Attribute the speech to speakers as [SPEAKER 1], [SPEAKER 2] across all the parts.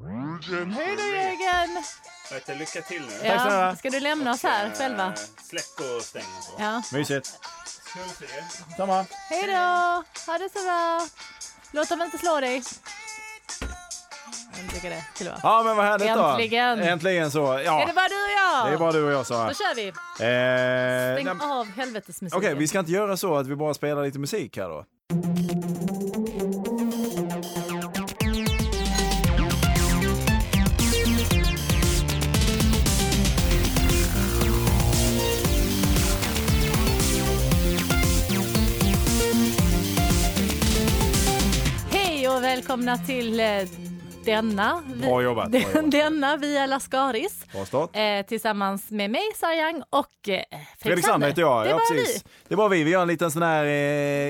[SPEAKER 1] Hej då Jörgen!
[SPEAKER 2] Vet du, lycka till nu.
[SPEAKER 1] Ja,
[SPEAKER 3] snälla.
[SPEAKER 1] Ska du lämna oss här själva?
[SPEAKER 2] Släck och stäng och så.
[SPEAKER 1] Ja.
[SPEAKER 3] Mysigt.
[SPEAKER 2] Ska vi se.
[SPEAKER 3] Samma.
[SPEAKER 1] Hej då! Ha det så bra! Låt dem inte slå dig. Jag tycker det skulle vara.
[SPEAKER 3] Ja, men vad härligt då.
[SPEAKER 1] Äntligen.
[SPEAKER 3] Äntligen så.
[SPEAKER 1] Är
[SPEAKER 3] Ja,
[SPEAKER 1] det bara du och jag?
[SPEAKER 3] det är bara du och jag Sara.
[SPEAKER 1] Då kör vi!
[SPEAKER 3] Eh,
[SPEAKER 1] Stäng
[SPEAKER 3] nej,
[SPEAKER 1] av helvetesmusiken.
[SPEAKER 3] Okej, vi ska inte göra så att vi bara spelar lite musik här då.
[SPEAKER 1] Hej och välkomna till eh, denna. Vi,
[SPEAKER 3] Bra jobbat, bra jobbat.
[SPEAKER 1] denna via Lascaris.
[SPEAKER 3] Bra start.
[SPEAKER 1] Eh, tillsammans med mig, Sarjang och eh,
[SPEAKER 3] Fredrik Sand heter jag.
[SPEAKER 1] Det
[SPEAKER 3] ja,
[SPEAKER 1] var
[SPEAKER 3] precis. Det var vi. Vi gör en liten sån här, eh,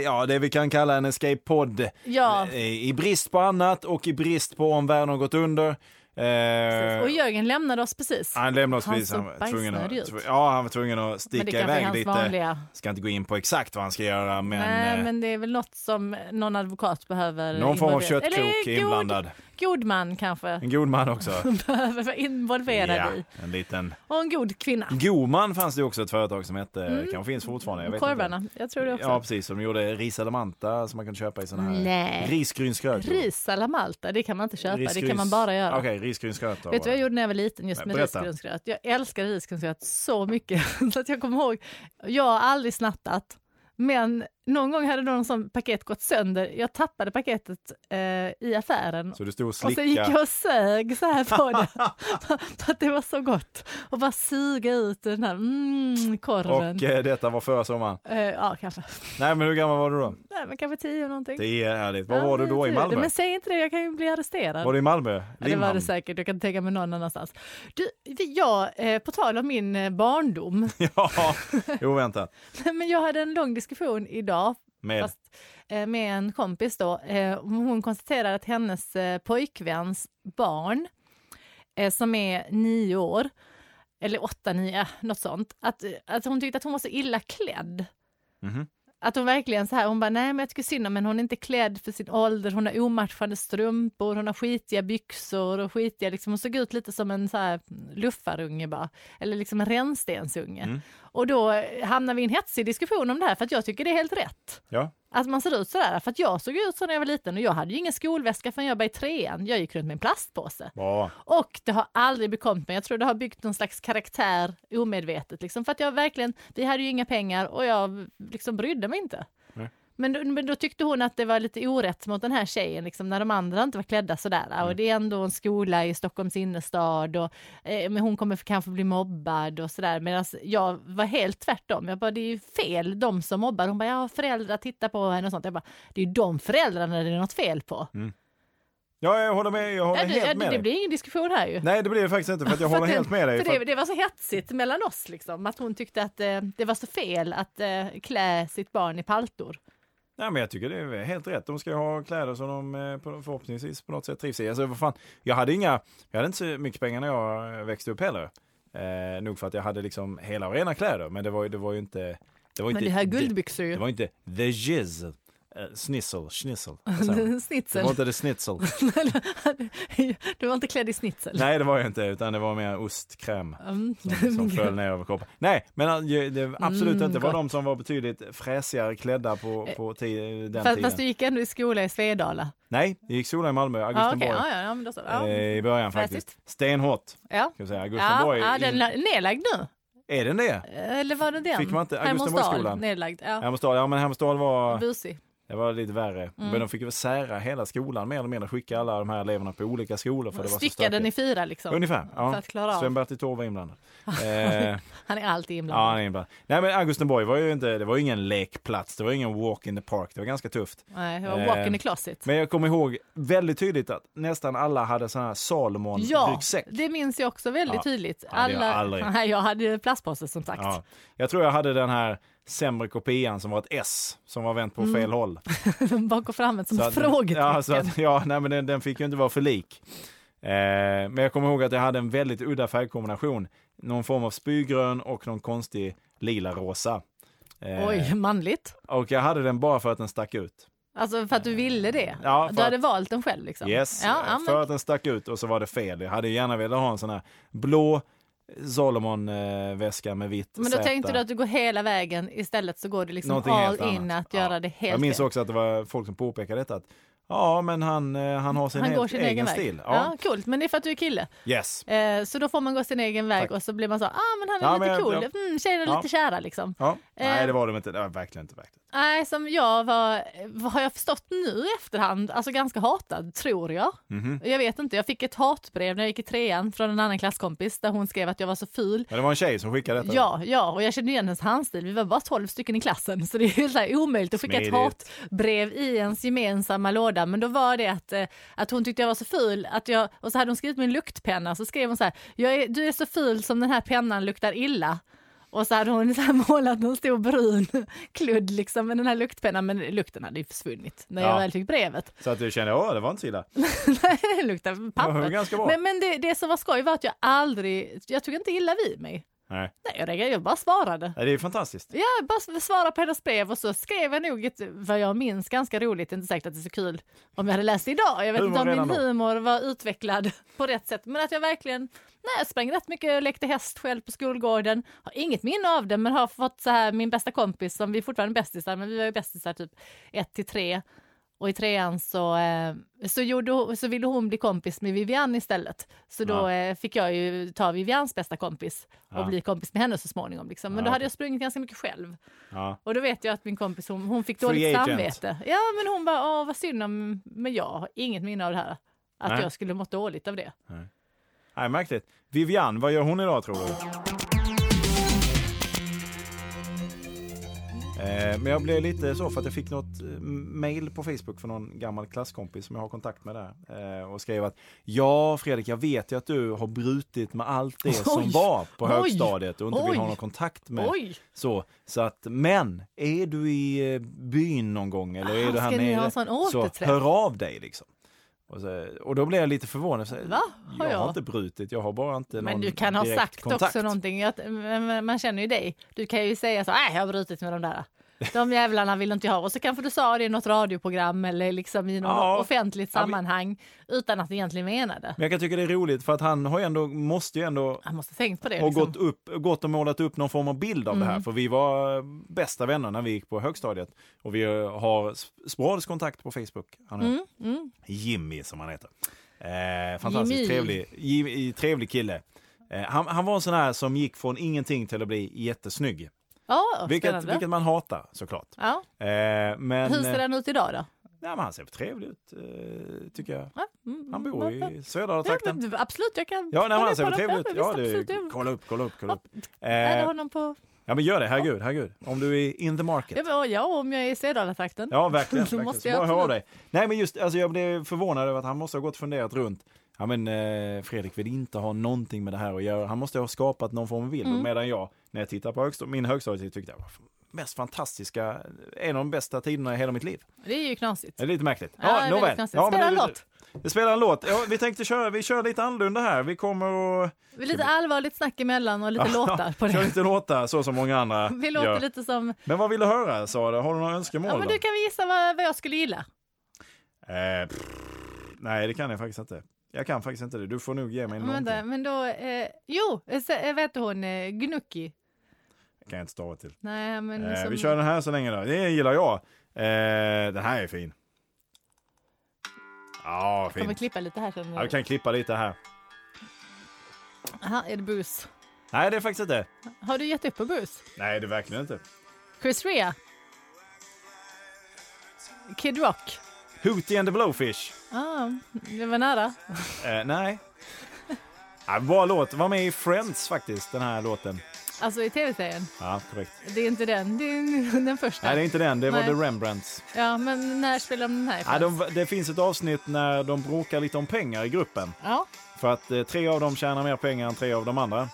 [SPEAKER 3] ja det vi kan kalla en escape-podd.
[SPEAKER 1] vi. Ja,
[SPEAKER 3] Eh, I brist på annat och i brist på om världen har gått under. Eh,
[SPEAKER 1] och Jörgen lämnade oss precis.
[SPEAKER 3] han lämnade oss
[SPEAKER 1] Han
[SPEAKER 3] precis. Han
[SPEAKER 1] såg
[SPEAKER 3] var tvungen att,
[SPEAKER 1] bajsnödig ut.
[SPEAKER 3] tv- ja, han var tvungen att
[SPEAKER 1] Men det
[SPEAKER 3] sticka
[SPEAKER 1] kanske är
[SPEAKER 3] iväg
[SPEAKER 1] hans
[SPEAKER 3] lite.
[SPEAKER 1] vanliga.
[SPEAKER 3] Ska inte gå in på exakt vad han ska göra, men,
[SPEAKER 1] Nej,
[SPEAKER 3] eh,
[SPEAKER 1] men det är väl något som någon advokat behöver.
[SPEAKER 3] någon form av
[SPEAKER 1] involvera-
[SPEAKER 3] köttkrok är
[SPEAKER 1] Eller god,
[SPEAKER 3] inblandad.
[SPEAKER 1] god man kanske
[SPEAKER 3] En god man också.
[SPEAKER 1] behöver vara involverad i.
[SPEAKER 3] en liten.
[SPEAKER 1] Och en god kvinna.
[SPEAKER 3] Goman fanns det också ett företag som hette, kanske finns fortfarande. Jag vet
[SPEAKER 1] Mm. Korvarna,
[SPEAKER 3] inte.
[SPEAKER 1] jag tror det också.
[SPEAKER 3] Ja, precis. De gjorde risalamanta som man kan köpa i sådana här
[SPEAKER 1] Nej.
[SPEAKER 3] risgrynsgröt.
[SPEAKER 1] Ris alla Malta, det kan man inte köpa, det
[SPEAKER 3] Risgryns-
[SPEAKER 1] kan man bara göra.
[SPEAKER 3] Okej, risgrynsgröt. då.
[SPEAKER 1] Vet du vad jag gjorde när jag var liten just
[SPEAKER 3] Nej,
[SPEAKER 1] med
[SPEAKER 3] berätta.
[SPEAKER 1] risgrynsgröt? Jag älskade risgrynsgröt så mycket så att jag kommer ihåg, jag har aldrig snattat, men någon gång hade någon sån paket gått sönder. Jag tappade paketet eh, i affären
[SPEAKER 3] Så du stod och
[SPEAKER 1] och
[SPEAKER 3] slickade.
[SPEAKER 1] sen gick jag och sög så här på det för att det var så gott och bara suga ut den här mm, korven.
[SPEAKER 3] Och eh, detta var förra sommaren.
[SPEAKER 1] Eh, ja, kanske.
[SPEAKER 3] Nej, men hur gammal var du då?
[SPEAKER 1] Nej, men kanske tio någonting.
[SPEAKER 3] Det är härligt. Var
[SPEAKER 1] Ja,
[SPEAKER 3] var du
[SPEAKER 1] det
[SPEAKER 3] då
[SPEAKER 1] är
[SPEAKER 3] i
[SPEAKER 1] tur.
[SPEAKER 3] Malmö?
[SPEAKER 1] Men säg inte det, jag kan ju bli arresterad.
[SPEAKER 3] Var du i Malmö?
[SPEAKER 1] Ja, det var
[SPEAKER 3] Limhamn?
[SPEAKER 1] det säkert, jag kan tänka mig någon annanstans. Du, vi- jag, eh, på tal om min eh, barndom,
[SPEAKER 3] ja, oväntat.
[SPEAKER 1] men jag hade en lång diskussion idag
[SPEAKER 3] Med.
[SPEAKER 1] Fast- eh, med en kompis då. Eh, Hon konstaterade att hennes eh, pojkväns barn, eh, som är nio år, eller åtta, nio, eh, något sånt, att, att hon tyckte att hon var så illa klädd.
[SPEAKER 3] Mhm.
[SPEAKER 1] Att hon verkligen så här, hon bara, nej men jag tycker synd om henne, hon är inte klädd för sin ålder, hon har omatchande strumpor, hon har skitiga byxor och skitiga, liksom, hon såg ut lite som en så här luffarunge bara, eller liksom en rännstensunge. Och då eh, hamnar vi i en hetsig diskussion om det här, för att jag tycker det är helt rätt.
[SPEAKER 3] Ja.
[SPEAKER 1] Att man ser ut sådär, för att jag såg ut så när jag var liten och jag hade ju ingen skolväska förrän jag började i trean. Jag gick runt med en plastpåse.
[SPEAKER 3] Bra.
[SPEAKER 1] Och det har aldrig bekommit mig. Jag tror det har byggt någon slags karaktär omedvetet. Liksom. För att jag verkligen, vi hade ju inga pengar och jag liksom brydde mig inte.
[SPEAKER 3] Nej.
[SPEAKER 1] Men då, men då tyckte hon att det var lite orätt mot den här tjejen, liksom, när de andra inte var klädda sådär. Och
[SPEAKER 3] Mm.
[SPEAKER 1] det är ändå en skola i Stockholms innerstad och eh, men hon kommer för- kanske bli mobbad och sådär. Medan jag var helt tvärtom. Jag bara, det är ju fel, de som mobbar. Hon bara, ja föräldrar tittar på henne och sånt. Jag bara, det är ju de föräldrarna det är något fel på.
[SPEAKER 3] Ja, jag håller med. Jag håller
[SPEAKER 1] Ja, du, ja, det,
[SPEAKER 3] helt med
[SPEAKER 1] det
[SPEAKER 3] dig.
[SPEAKER 1] blir ingen diskussion här ju.
[SPEAKER 3] Nej, det blir det faktiskt inte för att jag
[SPEAKER 1] För
[SPEAKER 3] håller
[SPEAKER 1] att
[SPEAKER 3] helt
[SPEAKER 1] det-
[SPEAKER 3] med dig.
[SPEAKER 1] För
[SPEAKER 3] För
[SPEAKER 1] det, det var så hetsigt mellan oss, liksom, att hon tyckte att eh, det var så fel att eh, klä sitt barn i paltor.
[SPEAKER 3] Nej, men jag tycker det är helt rätt. De ska ju ha kläder som de eh, på- förhoppningsvis på något sätt trivs i. Alltså, vad fan, jag hade inga, jag hade inte så mycket pengar när jag eh, växte upp heller. Eh, nog för att jag hade liksom hela och rena kläder, men det var ju, det var ju inte... Det var
[SPEAKER 1] Men
[SPEAKER 3] inte
[SPEAKER 1] det här
[SPEAKER 3] det,
[SPEAKER 1] guldbyxor
[SPEAKER 3] det
[SPEAKER 1] ju.
[SPEAKER 3] var inte the jizz. Eh, snissel, schnissel. Vad säger man? Det
[SPEAKER 1] Snitsel.
[SPEAKER 3] var inte the snitsel.
[SPEAKER 1] du var inte klädd i snitsel.
[SPEAKER 3] Nej, det var jag inte, utan det var mer ostkräm
[SPEAKER 1] Mm.
[SPEAKER 3] som, som föll ner över kroppen. Nej, men eh, det, det, absolut
[SPEAKER 1] Mm,
[SPEAKER 3] inte. Det var
[SPEAKER 1] gott. Eh,
[SPEAKER 3] de som var betydligt fräsigare klädda på, på ti- eh, den
[SPEAKER 1] Fast,
[SPEAKER 3] tiden.
[SPEAKER 1] fast du gick ändå i skola i Svedala.
[SPEAKER 3] Nej, det gick sola i Malmö,
[SPEAKER 1] Ja,
[SPEAKER 3] Augustenborg.
[SPEAKER 1] okej. ja, ja, ja, men då så. Ja.
[SPEAKER 3] eh, I början faktiskt. Stenhårt,
[SPEAKER 1] Ja.
[SPEAKER 3] ska vi säga.
[SPEAKER 1] Ja,
[SPEAKER 3] Augustenborg.
[SPEAKER 1] ja, den
[SPEAKER 3] in...
[SPEAKER 1] är nedlagd nu.
[SPEAKER 3] Är den det?
[SPEAKER 1] Eller var det den?
[SPEAKER 3] Fick man inte
[SPEAKER 1] Hermodsdal,
[SPEAKER 3] Augustenborgsskolan?
[SPEAKER 1] nedlagd. Ja. Mm.
[SPEAKER 3] Hermestad, ja men Hermestad var,
[SPEAKER 1] Busig.
[SPEAKER 3] det var lite värre.
[SPEAKER 1] Mm.
[SPEAKER 3] Men de fick ju sära hela skolan mer eller mindre, skicka alla de här eleverna på olika skolor för det var så
[SPEAKER 1] Styckade den i
[SPEAKER 3] stökigt.
[SPEAKER 1] fyra liksom.
[SPEAKER 3] Ungefär, ja.
[SPEAKER 1] För att klara av.
[SPEAKER 3] Sven-Bertil Taube var inblandad. eh,
[SPEAKER 1] Han är alltid
[SPEAKER 3] Ja, han
[SPEAKER 1] inblandad.
[SPEAKER 3] är inblandad. Nej men Augustenborg var ju inte, det var ju ingen lekplats, det var ingen walk in the park, det var ganska tufft.
[SPEAKER 1] Nej, det var walk in the
[SPEAKER 3] Eh,
[SPEAKER 1] closet.
[SPEAKER 3] Men jag kommer ihåg väldigt tydligt att nästan alla hade sån här
[SPEAKER 1] Ja,
[SPEAKER 3] Salomon-ryggsäck.
[SPEAKER 1] det minns jag också väldigt
[SPEAKER 3] Ja.
[SPEAKER 1] tydligt.
[SPEAKER 3] det har jag aldrig.
[SPEAKER 1] Nej, jag hade plastpåse som sagt.
[SPEAKER 3] Ja. Jag tror jag hade den här sämre kopian som var ett S som var vänt på fel håll.
[SPEAKER 1] Bak och fram som
[SPEAKER 3] Så
[SPEAKER 1] ett
[SPEAKER 3] att-
[SPEAKER 1] Mm. frågetecken.
[SPEAKER 3] Ja, så att, ja nej, men den, den fick ju inte vara för lik. Eh, men jag kommer ihåg att jag hade en väldigt udda färgkombination. Någon form av spygrön och någon konstig lila rosa. Eh,
[SPEAKER 1] Oj, manligt.
[SPEAKER 3] Och jag hade den bara för att den stack ut.
[SPEAKER 1] Alltså för att du ville det?
[SPEAKER 3] Ja, för
[SPEAKER 1] du hade
[SPEAKER 3] att-
[SPEAKER 1] valt den själv liksom?
[SPEAKER 3] Yes,
[SPEAKER 1] Ja, ja,
[SPEAKER 3] för
[SPEAKER 1] men,
[SPEAKER 3] att den stack ut och så var det fel. Jag hade gärna velat ha en sån här blå Solomon-väska med vitt
[SPEAKER 1] men då
[SPEAKER 3] Z.
[SPEAKER 1] tänkte du att du går hela vägen istället så går du liksom
[SPEAKER 3] Någonting
[SPEAKER 1] all
[SPEAKER 3] helt
[SPEAKER 1] in
[SPEAKER 3] annat.
[SPEAKER 1] att göra
[SPEAKER 3] Ja.
[SPEAKER 1] det
[SPEAKER 3] Jag
[SPEAKER 1] helt
[SPEAKER 3] minns
[SPEAKER 1] fel.
[SPEAKER 3] också att det var folk som påpekade detta. Att, ja, men han, eh, han har sin,
[SPEAKER 1] Han
[SPEAKER 3] helt,
[SPEAKER 1] går sin egen, väg.
[SPEAKER 3] stil.
[SPEAKER 1] Ja.
[SPEAKER 3] Ja.
[SPEAKER 1] coolt. Men det är för att du är kille.
[SPEAKER 3] Yes.
[SPEAKER 1] Eh, så då får man gå sin egen väg
[SPEAKER 3] Tack.
[SPEAKER 1] och så blir man så, ah men han är
[SPEAKER 3] Ja,
[SPEAKER 1] lite
[SPEAKER 3] men-
[SPEAKER 1] cool,
[SPEAKER 3] ja.
[SPEAKER 1] mm, tjejerna är
[SPEAKER 3] Ja.
[SPEAKER 1] lite kära liksom.
[SPEAKER 3] Ja.
[SPEAKER 1] Eh.
[SPEAKER 3] Nej, det var de inte. Det var verkligen inte. Verkligen.
[SPEAKER 1] Nej, som jag var, vad har jag förstått nu i efterhand, alltså ganska hatad, tror jag. Jag vet inte, jag fick ett hatbrev när jag gick i trean från en annan klasskompis där hon skrev att jag var så ful.
[SPEAKER 3] Men det var en tjej som skickade detta.
[SPEAKER 1] Ja, ja, och jag kände igen hennes handstil. Vi var bara 12 stycken i klassen, så det är ju så här omöjligt att skicka ett
[SPEAKER 3] Smidigt.
[SPEAKER 1] hatbrev i ens gemensamma låda. Men då var det att, eh, att hon tyckte jag var så ful, att jag, och så hade hon skrivit min luktpenna, så skrev hon så här, jag är, du är så ful som den här pennan luktar illa. Och så hade hon så här målat någon stor brun kludd liksom med den här luktpennan, men lukten hade ju försvunnit när jag
[SPEAKER 3] Ja.
[SPEAKER 1] väl fick brevet.
[SPEAKER 3] Så att du kände, ja, det var inte så illa.
[SPEAKER 1] det luktar
[SPEAKER 3] Det var
[SPEAKER 1] papper.
[SPEAKER 3] ganska bra.
[SPEAKER 1] Men, men det, det som var skoj var att jag aldrig, jag tog inte illa vid mig.
[SPEAKER 3] Nej.
[SPEAKER 1] Nej, jag reagerade, jag bara svarade.
[SPEAKER 3] Nej, Det är ju fantastiskt.
[SPEAKER 1] Ja, bara svara på hennes brev och så skrev jag nog ett, vad jag minns, ganska roligt. Inte säkert att det är så kul om jag hade läst det idag. Jag vet
[SPEAKER 3] Humor
[SPEAKER 1] inte om
[SPEAKER 3] redan
[SPEAKER 1] min
[SPEAKER 3] då.
[SPEAKER 1] humor var utvecklad på rätt sätt. Men att jag verkligen, nej jag sprang rätt mycket och lekte häst själv på skolgården. Har inget minne av det men har fått så här min bästa kompis som vi är fortfarande bästisar, men vi var ju bästisar typ ett till tre. Och i trean så, eh, så, gjorde, hon- så ville hon bli kompis med Vivian istället. Så då
[SPEAKER 3] Ja.
[SPEAKER 1] eh, fick jag ju ta Vivians bästa kompis och
[SPEAKER 3] Ja.
[SPEAKER 1] bli kompis med henne så småningom. Liksom. Men
[SPEAKER 3] Ja,
[SPEAKER 1] då hade
[SPEAKER 3] okej.
[SPEAKER 1] jag sprungit ganska mycket själv.
[SPEAKER 3] Ja.
[SPEAKER 1] Och då vet jag att min kompis hon, hon fick
[SPEAKER 3] Free
[SPEAKER 1] dåligt
[SPEAKER 3] agent.
[SPEAKER 1] samvete. Ja men hon bara, Åh, vad synd om, men jag har inget minne av det här. Att
[SPEAKER 3] Nej.
[SPEAKER 1] jag skulle mått dåligt av det.
[SPEAKER 3] Nej, märkligt. Vivian, vad gör hon idag tror du? Eh, Men jag blev lite så för att jag fick något eh, mail på Facebook från någon gammal klasskompis som jag har kontakt med där eh, och skrev att ja Fredrik, jag vet ju att du har brutit med allt det som
[SPEAKER 1] Oj.
[SPEAKER 3] var på
[SPEAKER 1] Oj.
[SPEAKER 3] högstadiet och inte
[SPEAKER 1] Oj.
[SPEAKER 3] vill ha någon kontakt med.
[SPEAKER 1] Oj!
[SPEAKER 3] Så, så att, men är du i eh, byn någon gång eller är
[SPEAKER 1] Ah,
[SPEAKER 3] du här
[SPEAKER 1] ska ni ha
[SPEAKER 3] nere
[SPEAKER 1] en sån
[SPEAKER 3] så
[SPEAKER 1] återträff?
[SPEAKER 3] hör av dig liksom. Och, så, och då blev jag lite förvånad. Så,
[SPEAKER 1] Va? Har
[SPEAKER 3] jag har
[SPEAKER 1] jag?
[SPEAKER 3] inte brutit, jag har bara inte någon
[SPEAKER 1] Men du kan ha
[SPEAKER 3] direkt
[SPEAKER 1] sagt
[SPEAKER 3] kontakt.
[SPEAKER 1] också någonting. Jag, men man känner ju dig. Du kan ju säga så, nej jag har brutit med de där. De jävlarna vill inte jag ha. Och så kanske du sa det i något radioprogram eller liksom i något
[SPEAKER 3] Ja.
[SPEAKER 1] offentligt
[SPEAKER 3] Ja, men-
[SPEAKER 1] sammanhang utan att du egentligen menade.
[SPEAKER 3] Men jag kan tycka det är roligt för att han har ju ändå, måste ju ändå
[SPEAKER 1] Jag måste ha tänkt på det.
[SPEAKER 3] ha
[SPEAKER 1] liksom. Mm.
[SPEAKER 3] gått, upp, gått och målat upp någon form av bild av det här. För vi var eh, bästa vänner när vi gick på högstadiet. Och vi eh, har sp- sporadisk kontakt på Facebook. Han är Jimmy som han heter. Eh, fantastiskt
[SPEAKER 1] Mm. Jimmy.
[SPEAKER 3] trevlig, Jimmy, trevlig kille. Eh, han, han var en sån här som gick från ingenting till att bli jättesnygg.
[SPEAKER 1] Ja,
[SPEAKER 3] Vilket,
[SPEAKER 1] spännande.
[SPEAKER 3] vilket man hatar såklart.
[SPEAKER 1] Ja.
[SPEAKER 3] Eh, men,
[SPEAKER 1] Hur ser
[SPEAKER 3] eh,
[SPEAKER 1] den ut idag då?
[SPEAKER 3] nej, men han ser trevlig ut, eh, tycker jag.
[SPEAKER 1] Ja, mm,
[SPEAKER 3] Han bor
[SPEAKER 1] mm,
[SPEAKER 3] i södra
[SPEAKER 1] Ja,
[SPEAKER 3] trakten.
[SPEAKER 1] men, absolut, jag kan
[SPEAKER 3] Ja, nej, alltså,
[SPEAKER 1] kolla
[SPEAKER 3] han ser
[SPEAKER 1] på
[SPEAKER 3] väl
[SPEAKER 1] dem.
[SPEAKER 3] trevlig ut.
[SPEAKER 1] Ja,
[SPEAKER 3] Ja,
[SPEAKER 1] men visst,
[SPEAKER 3] du,
[SPEAKER 1] absolut, jag-
[SPEAKER 3] kolla upp, kolla upp, kolla upp.
[SPEAKER 1] Är det
[SPEAKER 3] Eh,
[SPEAKER 1] honom på...
[SPEAKER 3] ja, men gör det. Herregud, herregud. Om du är in the market.
[SPEAKER 1] Ja, men, ja, om jag är i Sädalatrakten.
[SPEAKER 3] Ja, verkligen.
[SPEAKER 1] Då
[SPEAKER 3] verkligen.
[SPEAKER 1] måste
[SPEAKER 3] Så
[SPEAKER 1] jag
[SPEAKER 3] bara hör av
[SPEAKER 1] absolut.
[SPEAKER 3] dig. Nej, men just, alltså, jag blev förvånad över att han måste ha gått och funderat runt. Ja, men eh, Fredrik vill inte ha någonting med det här att göra. Han måste ha skapat någon form av bild.
[SPEAKER 1] Mm.
[SPEAKER 3] Medan jag, när jag tittar på högstad- min högstadietid, tyckte jag var mest fantastiska, en av de bästa tiderna i hela mitt liv.
[SPEAKER 1] Det är ju knasigt.
[SPEAKER 3] Det är lite märkligt.
[SPEAKER 1] Ja, det är väldigt knasigt. Spela
[SPEAKER 3] det-
[SPEAKER 1] en låt.
[SPEAKER 3] Det spelar en låt. Ja, vi tänkte köra, vi kör lite annorlunda här. Vi kommer att
[SPEAKER 1] Det är Lite allvarligt snack emellan och lite låtar på
[SPEAKER 3] Kör
[SPEAKER 1] det.
[SPEAKER 3] lite låtar så som många andra
[SPEAKER 1] Vi låter
[SPEAKER 3] gör.
[SPEAKER 1] lite som...
[SPEAKER 3] Men vad vill du höra Sara? Har du några önskemål?
[SPEAKER 1] Ja, men
[SPEAKER 3] då?
[SPEAKER 1] du kan vi gissa vad, vad jag skulle gilla.
[SPEAKER 3] Eh, pff, nej, det kan jag faktiskt inte. Jag kan faktiskt inte det. Du får nog ge mig
[SPEAKER 1] Men, vänta,
[SPEAKER 3] någonting.
[SPEAKER 1] men då... Eh, jo, se- eh, vet du hon? Eh, Gnucki.
[SPEAKER 3] Det kan jag inte stava till.
[SPEAKER 1] Nej, men...
[SPEAKER 3] Eh,
[SPEAKER 1] som,
[SPEAKER 3] vi kör den här så länge då. Det gillar jag. Eh, den här är fin. Ja,
[SPEAKER 1] Kommer
[SPEAKER 3] fin.
[SPEAKER 1] klippa lite här sen.
[SPEAKER 3] Ja, vi kan klippa lite här.
[SPEAKER 1] Aha, är det Bruce?
[SPEAKER 3] Nej, det är faktiskt inte.
[SPEAKER 1] Har du gett upp på Bruce?
[SPEAKER 3] Nej, det är verkligen inte.
[SPEAKER 1] Chris Rea? Kid Rock?
[SPEAKER 3] Hootie and the Blowfish.
[SPEAKER 1] Ah, det var nära.
[SPEAKER 3] Eh, nej. Ja, bra låt. Var med i Friends faktiskt, den här låten.
[SPEAKER 1] Alltså i tv-serien.
[SPEAKER 3] Ja, korrekt.
[SPEAKER 1] Det är inte den, det är den första.
[SPEAKER 3] Nej, det är inte den. Det var
[SPEAKER 1] Nej.
[SPEAKER 3] The Rembrandts.
[SPEAKER 1] Ja, men när spelar de den här?
[SPEAKER 3] Ja, de, det finns ett avsnitt när de bråkar lite om pengar i gruppen.
[SPEAKER 1] ja.
[SPEAKER 3] För att eh, tre av dem tjänar mer pengar än tre av de andra.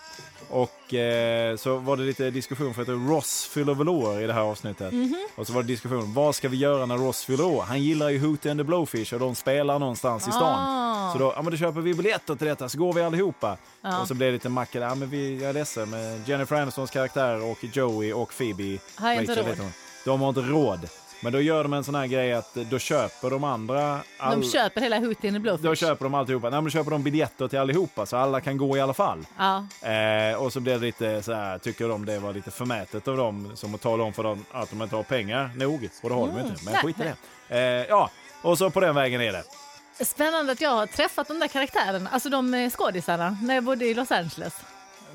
[SPEAKER 3] Och eh, så var det lite diskussion för att Ross fyller väl år i det här avsnittet.
[SPEAKER 1] Mhm.
[SPEAKER 3] Och så var det diskussion, vad ska vi göra när Ross fyller år? Han gillar ju Hootie and the Blowfish och de spelar någonstans i stan.
[SPEAKER 1] Ah.
[SPEAKER 3] Så då, ja men då köper vi biljetter till detta så går vi allihopa.
[SPEAKER 1] Ja.
[SPEAKER 3] Och så blir det lite macka, ja men vi, jag är ledsen men Jennifer Anistons karaktär och Joey och Phoebe.
[SPEAKER 1] Har inte
[SPEAKER 3] Rachel
[SPEAKER 1] råd.
[SPEAKER 3] heter hon. De har inte råd. Men då gör de en sån här grej att eh, då köper de andra... all-
[SPEAKER 1] De köper hela Hootie and the Blowfish.
[SPEAKER 3] då köper de alltihopa. Nej, men då köper de biljetter till allihopa så alla kan gå i alla fall.
[SPEAKER 1] Ja.
[SPEAKER 3] Eh, och så blev det lite så här, tycker de det var lite förmätet av dem som att tala om för dem att de inte har pengar nog. Och det har de ju inte, men
[SPEAKER 1] Mm, Nej.
[SPEAKER 3] skit i det. Eh, ja, och så på den vägen är det.
[SPEAKER 1] Spännande att jag har träffat de där karaktärerna, alltså de eh, skådisarna, när jag bodde i Los Angeles.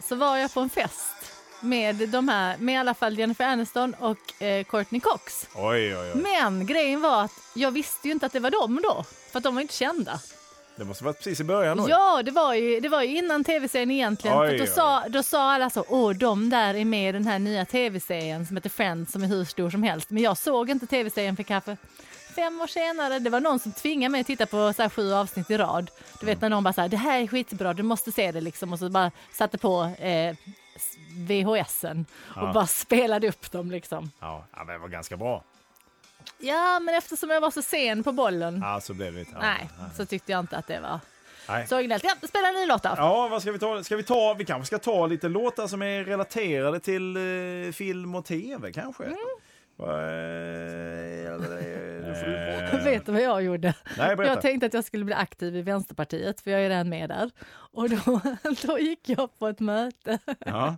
[SPEAKER 1] Så var jag på en fest med de här, med i alla fall Jennifer Aniston och eh, Courtney Cox.
[SPEAKER 3] Oj, oj, oj.
[SPEAKER 1] Men grejen var att jag visste ju inte att det var dem då, för att de var inte kända.
[SPEAKER 3] Det måste varit precis i början. oj.
[SPEAKER 1] Ja, det var ju, det var ju innan tv-serien egentligen.
[SPEAKER 3] Oj,
[SPEAKER 1] för att då,
[SPEAKER 3] oj.
[SPEAKER 1] sa, då sa alla så, åh de där är med i den här nya tv-serien som heter Friends som är hur stor som helst. Men jag såg inte tv-serien för kanske fem år senare. Det var någon som tvingade mig att titta på så här, sju avsnitt i rad. Du
[SPEAKER 3] Mm.
[SPEAKER 1] vet när någon bara så här, det här är skitbra, du måste se det liksom. Och så bara satte på eh, s- VHSen och
[SPEAKER 3] Ja.
[SPEAKER 1] bara spelade upp dem liksom.
[SPEAKER 3] Ja, ja, men det var ganska bra.
[SPEAKER 1] Ja, men eftersom jag var så sen på bollen.
[SPEAKER 3] Ja, så blev det inte. Ja,
[SPEAKER 1] Nej,
[SPEAKER 3] ja.
[SPEAKER 1] så tyckte jag inte att det var
[SPEAKER 3] Nej.
[SPEAKER 1] så originellt. Ja, spela en ny låt då.
[SPEAKER 3] Ja, vad ska vi ta? Ska vi ta? Vi kanske ska ta lite låtar som är relaterade till eh, film och tv kanske?
[SPEAKER 1] Mm.
[SPEAKER 3] Va- eh, då får du få-
[SPEAKER 1] Vet du vad jag gjorde?
[SPEAKER 3] Eh. Nej, berätta.
[SPEAKER 1] jag tänkte att jag skulle bli aktiv i Vänsterpartiet, för jag är redan med där. Och då, då gick jag på ett möte.
[SPEAKER 3] Ja.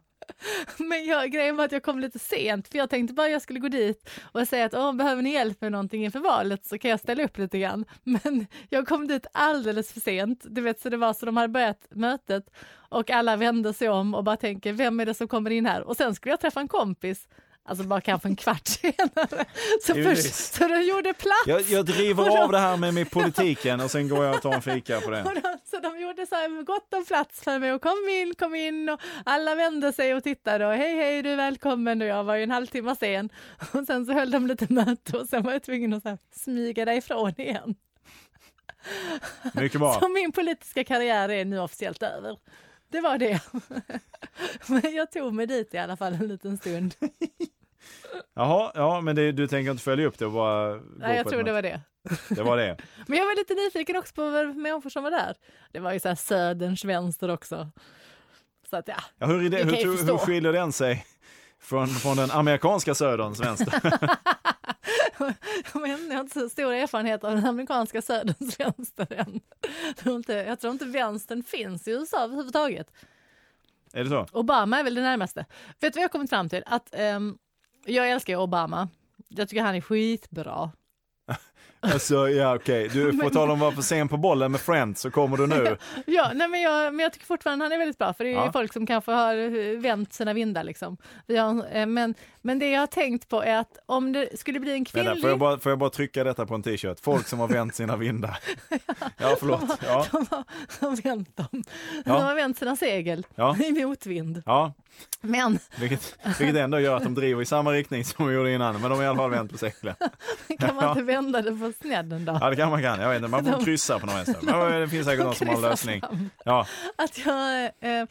[SPEAKER 1] Men jag, grejen var att jag kom lite sent, för jag tänkte bara jag skulle gå dit och säga att Åh, behöver ni hjälp med någonting inför valet så kan jag ställa upp lite grann. Men jag kom dit alldeles för sent. Du vet, så det var så de hade börjat mötet och alla vände sig om och bara tänker, vem är det som kommer in här? Och sen skulle jag träffa en kompis, alltså bara kanske en kvart senare. Så,
[SPEAKER 3] Givetvis.
[SPEAKER 1] först, så de gjorde plats.
[SPEAKER 3] Jag, jag driver av det här med, med politiken och sen går jag och tar en fika på
[SPEAKER 1] Och
[SPEAKER 3] den.
[SPEAKER 1] de, så de gjorde så här gott om plats för mig och kom in, kom in och alla vände sig och tittade och hej hej du är välkommen och jag var ju en halvtimme sen. Och sen så höll de lite möte och sen var jag tvungen att så här, smyga därifrån igen.
[SPEAKER 3] Mycket bra.
[SPEAKER 1] Så min politiska karriär är nu officiellt över. Det var det. Men jag tog mig dit i alla fall en liten stund.
[SPEAKER 3] Jaha, ja, men det, du tänker inte följa upp det och bara gå
[SPEAKER 1] Nej, jag
[SPEAKER 3] på
[SPEAKER 1] tror
[SPEAKER 3] ett
[SPEAKER 1] det
[SPEAKER 3] möte.
[SPEAKER 1] var det.
[SPEAKER 3] det var det.
[SPEAKER 1] Men jag var lite nyfiken också på vad människor som var där. Det var ju så här söderns vänster också. Så att ja,
[SPEAKER 3] Ja, hur, är det,
[SPEAKER 1] Det kan
[SPEAKER 3] hur,
[SPEAKER 1] jag
[SPEAKER 3] hur,
[SPEAKER 1] förstå.
[SPEAKER 3] hur skiljer den sig från, från den amerikanska söderns vänster?
[SPEAKER 1] Men jag har inte så stor erfarenhet av den amerikanska söderns vänster än. Jag tror inte, jag tror inte vänstern finns i USA överhuvudtaget.
[SPEAKER 3] Är det så?
[SPEAKER 1] Obama är väl det närmaste. Vet du vad jag har kommit fram till? Att, ehm, jag älskar ju Obama. Jag tycker han är skitbra.
[SPEAKER 3] Alltså, ja okej, du får
[SPEAKER 1] Men-
[SPEAKER 3] tala om att vara för sen på bollen med Friends så kommer du nu.
[SPEAKER 1] Ja, nej men, jag, men jag tycker fortfarande han är väldigt bra, för det är ju
[SPEAKER 3] Ja.
[SPEAKER 1] folk som kanske har eh, vänt sina vindar. Liksom. Vi har, eh, men, men det jag har tänkt på är att om det skulle bli en
[SPEAKER 3] Vänta, får, jag
[SPEAKER 1] kvinnlig...
[SPEAKER 3] bara, får jag bara trycka detta på en t-shirt? Folk som har vänt sina vindar. Ja, förlåt. Ja,
[SPEAKER 1] De har, de har vänt dem.
[SPEAKER 3] Ja.
[SPEAKER 1] De har vänt sina segel
[SPEAKER 3] Ja.
[SPEAKER 1] i motvind.
[SPEAKER 3] ja.
[SPEAKER 1] Men
[SPEAKER 3] Vilket, vilket ändå gör att de driver i samma riktning som de gjorde innan, men de har i alla fall vänt på seglen.
[SPEAKER 1] Kan man inte vända det på snedden då?
[SPEAKER 3] Ja, det kan man kan. Jag vet inte, man får kryssa på någon vänster. Men eh, det finns säkert någon som har en lösning. Ja,
[SPEAKER 1] Att jag... Eh,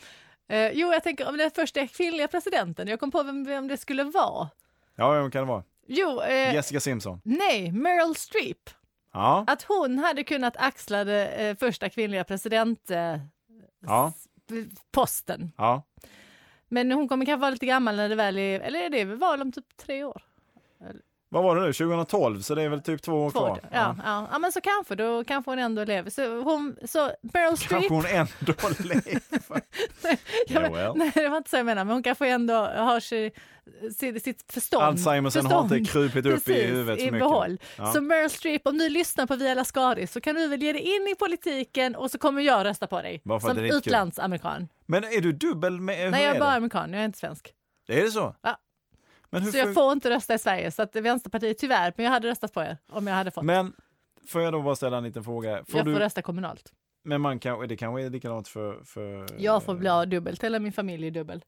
[SPEAKER 1] eh, jo, jag tänker om den första kvinnliga presidenten. Jag kom på vem, vem det skulle vara.
[SPEAKER 3] ja vem kan det vara?
[SPEAKER 1] Jo, eh,
[SPEAKER 3] Jessica Simpson.
[SPEAKER 1] nej, Meryl Streep.
[SPEAKER 3] Ja,
[SPEAKER 1] Att hon hade kunnat axla det eh, första kvinnliga presidentposten. Eh,
[SPEAKER 3] ja,
[SPEAKER 1] posten.
[SPEAKER 3] ja.
[SPEAKER 1] Men hon kommer kanske vara lite gammal när det väl är... Eller är det väl val om typ tre år?
[SPEAKER 3] Vad var det nu? 2012, så det är väl typ två år
[SPEAKER 1] Två år.
[SPEAKER 3] kvar.
[SPEAKER 1] Ja, ja. ja, men så kanske. Då kanske hon ändå lever. Så, hon, så Meryl Streep...
[SPEAKER 3] Kanske hon ändå lever.
[SPEAKER 1] Ja, men,
[SPEAKER 3] Joel.
[SPEAKER 1] Nej, det var inte så jag menade, men hon kanske ändå har sig, sitt, sitt förstånd.
[SPEAKER 3] Alzheimersen har
[SPEAKER 1] förstånd
[SPEAKER 3] inte krupit upp i
[SPEAKER 1] precis,
[SPEAKER 3] huvudet så
[SPEAKER 1] i
[SPEAKER 3] mycket.
[SPEAKER 1] behåll.
[SPEAKER 3] Ja.
[SPEAKER 1] Så Meryl Streep, om du lyssnar på Via Lascari så kan du väl ge dig in i politiken och så kommer jag rösta på dig.
[SPEAKER 3] Bara för att
[SPEAKER 1] Som
[SPEAKER 3] det är lite kul.
[SPEAKER 1] utlandsamerikan.
[SPEAKER 3] Men är du dubbel med... hur
[SPEAKER 1] Nej, jag
[SPEAKER 3] är
[SPEAKER 1] är bara
[SPEAKER 3] det?
[SPEAKER 1] amerikan, jag är inte svensk.
[SPEAKER 3] Är det så?
[SPEAKER 1] Ja.
[SPEAKER 3] Men hur
[SPEAKER 1] Så jag
[SPEAKER 3] får-
[SPEAKER 1] får inte rösta i Sverige, så att Vänsterpartiet tyvärr, men jag hade röstat på er om jag hade fått.
[SPEAKER 3] Men får jag då bara ställa en liten fråga? Får
[SPEAKER 1] jag
[SPEAKER 3] du,
[SPEAKER 1] får rösta kommunalt.
[SPEAKER 3] Men man kan, det kanske är likadant för... för
[SPEAKER 1] Jag får bli dubbelt, eller min familj är dubbel.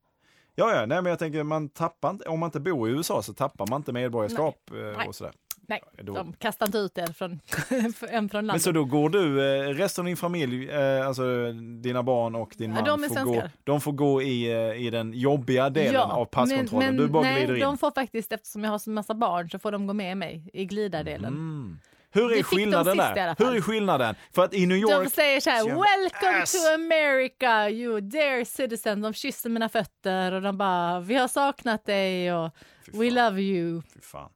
[SPEAKER 3] Ja, ja, nej men jag tänker man tappar inte, om man inte bor i USA så tappar man inte medborgarskap eh,
[SPEAKER 1] Nej.
[SPEAKER 3] och sådär.
[SPEAKER 1] Nej,
[SPEAKER 3] Då-
[SPEAKER 1] de kastar inte ut er från, en från
[SPEAKER 3] Men
[SPEAKER 1] landet.
[SPEAKER 3] så då går du, eh, resten av din familj, eh, alltså dina barn och din
[SPEAKER 1] Ja,
[SPEAKER 3] man,
[SPEAKER 1] de är
[SPEAKER 3] får, gå,
[SPEAKER 1] svenskar.
[SPEAKER 3] de får gå i, eh, i den jobbiga delen av passkontrollen.
[SPEAKER 1] Men, men,
[SPEAKER 3] du bara
[SPEAKER 1] nej,
[SPEAKER 3] glider in.
[SPEAKER 1] de får faktiskt, eftersom jag har så massa barn, så får de gå med mig i glidardelen.
[SPEAKER 3] Hur
[SPEAKER 1] det
[SPEAKER 3] är
[SPEAKER 1] fick de
[SPEAKER 3] skillnaden
[SPEAKER 1] sist i
[SPEAKER 3] där?
[SPEAKER 1] alla
[SPEAKER 3] Hur
[SPEAKER 1] fall.
[SPEAKER 3] är skillnaden? För att i New
[SPEAKER 1] De
[SPEAKER 3] York,
[SPEAKER 1] säger så här,
[SPEAKER 3] Jävla
[SPEAKER 1] welcome
[SPEAKER 3] ass."
[SPEAKER 1] to America you dear citizen. De kysser mina fötter och de bara, vi har saknat dig och
[SPEAKER 3] Fy
[SPEAKER 1] we
[SPEAKER 3] fan.
[SPEAKER 1] love you.
[SPEAKER 3] Fy fan.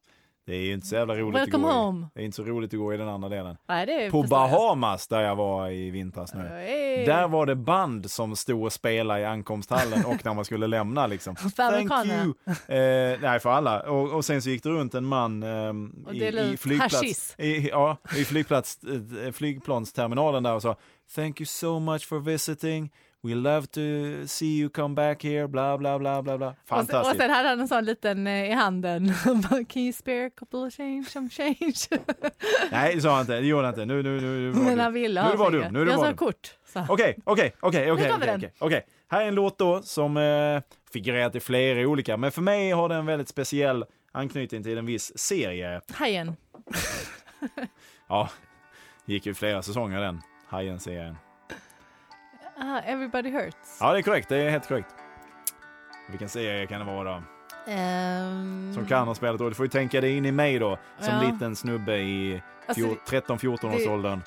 [SPEAKER 3] Det är ju inte så jävla roligt
[SPEAKER 1] Welcome
[SPEAKER 3] att gå
[SPEAKER 1] home.
[SPEAKER 3] I. Det är inte så roligt att gå i den andra delen.
[SPEAKER 1] Nej, det är
[SPEAKER 3] På
[SPEAKER 1] förstår jag.
[SPEAKER 3] Bahamas där jag var i vintras nu.
[SPEAKER 1] Oj.
[SPEAKER 3] Där var det band som stod och spelade i ankomsthallen och när man skulle lämna liksom.
[SPEAKER 1] amerikanerna.
[SPEAKER 3] Eh, nej, för alla. Och, och sen så gick det runt en man ehm,
[SPEAKER 1] Och
[SPEAKER 3] i,
[SPEAKER 1] delade
[SPEAKER 3] i,
[SPEAKER 1] ut hashish.
[SPEAKER 3] flygplats, i, ja, i flygplats, eh, flygplansterminalen där och sa Thank you so much for visiting. We love to see you come back here, bla bla bla bla bla.
[SPEAKER 1] Och sen, och
[SPEAKER 3] Fantastiskt.
[SPEAKER 1] sen hade han en sån liten eh, i handen. Bara, Can you spare a couple of change, some change?
[SPEAKER 3] Nej, det sa han inte. Det gjorde han inte. Nu, nu, nu, nu var
[SPEAKER 1] Men
[SPEAKER 3] du-
[SPEAKER 1] han ville
[SPEAKER 3] Nu
[SPEAKER 1] ha
[SPEAKER 3] är du var
[SPEAKER 1] pengar.
[SPEAKER 3] dum. Nu är du
[SPEAKER 1] Jag
[SPEAKER 3] var
[SPEAKER 1] sa
[SPEAKER 3] dum.
[SPEAKER 1] kort. Så.
[SPEAKER 3] Okej, okej, okej, okej,
[SPEAKER 1] kommer
[SPEAKER 3] okej,
[SPEAKER 1] den.
[SPEAKER 3] okej, okej. Här är en låt då som eh, figurerat i flera olika, men för mig har den väldigt speciell anknytning till en viss serie.
[SPEAKER 1] Hajen.
[SPEAKER 3] Ja, gick ju flera säsonger den. Hajen-serien.
[SPEAKER 1] Ah, everybody hurts.
[SPEAKER 3] Ja, det är korrekt. Det är helt korrekt. Vilken serie kan det vara då?
[SPEAKER 1] Ehm,
[SPEAKER 3] Som kan ha spelat då? Du får ju tänka dig in i mig då, som
[SPEAKER 1] Ja.
[SPEAKER 3] liten snubbe i
[SPEAKER 1] Alltså,
[SPEAKER 3] fjor- 13-14 års
[SPEAKER 1] det-
[SPEAKER 3] åldern.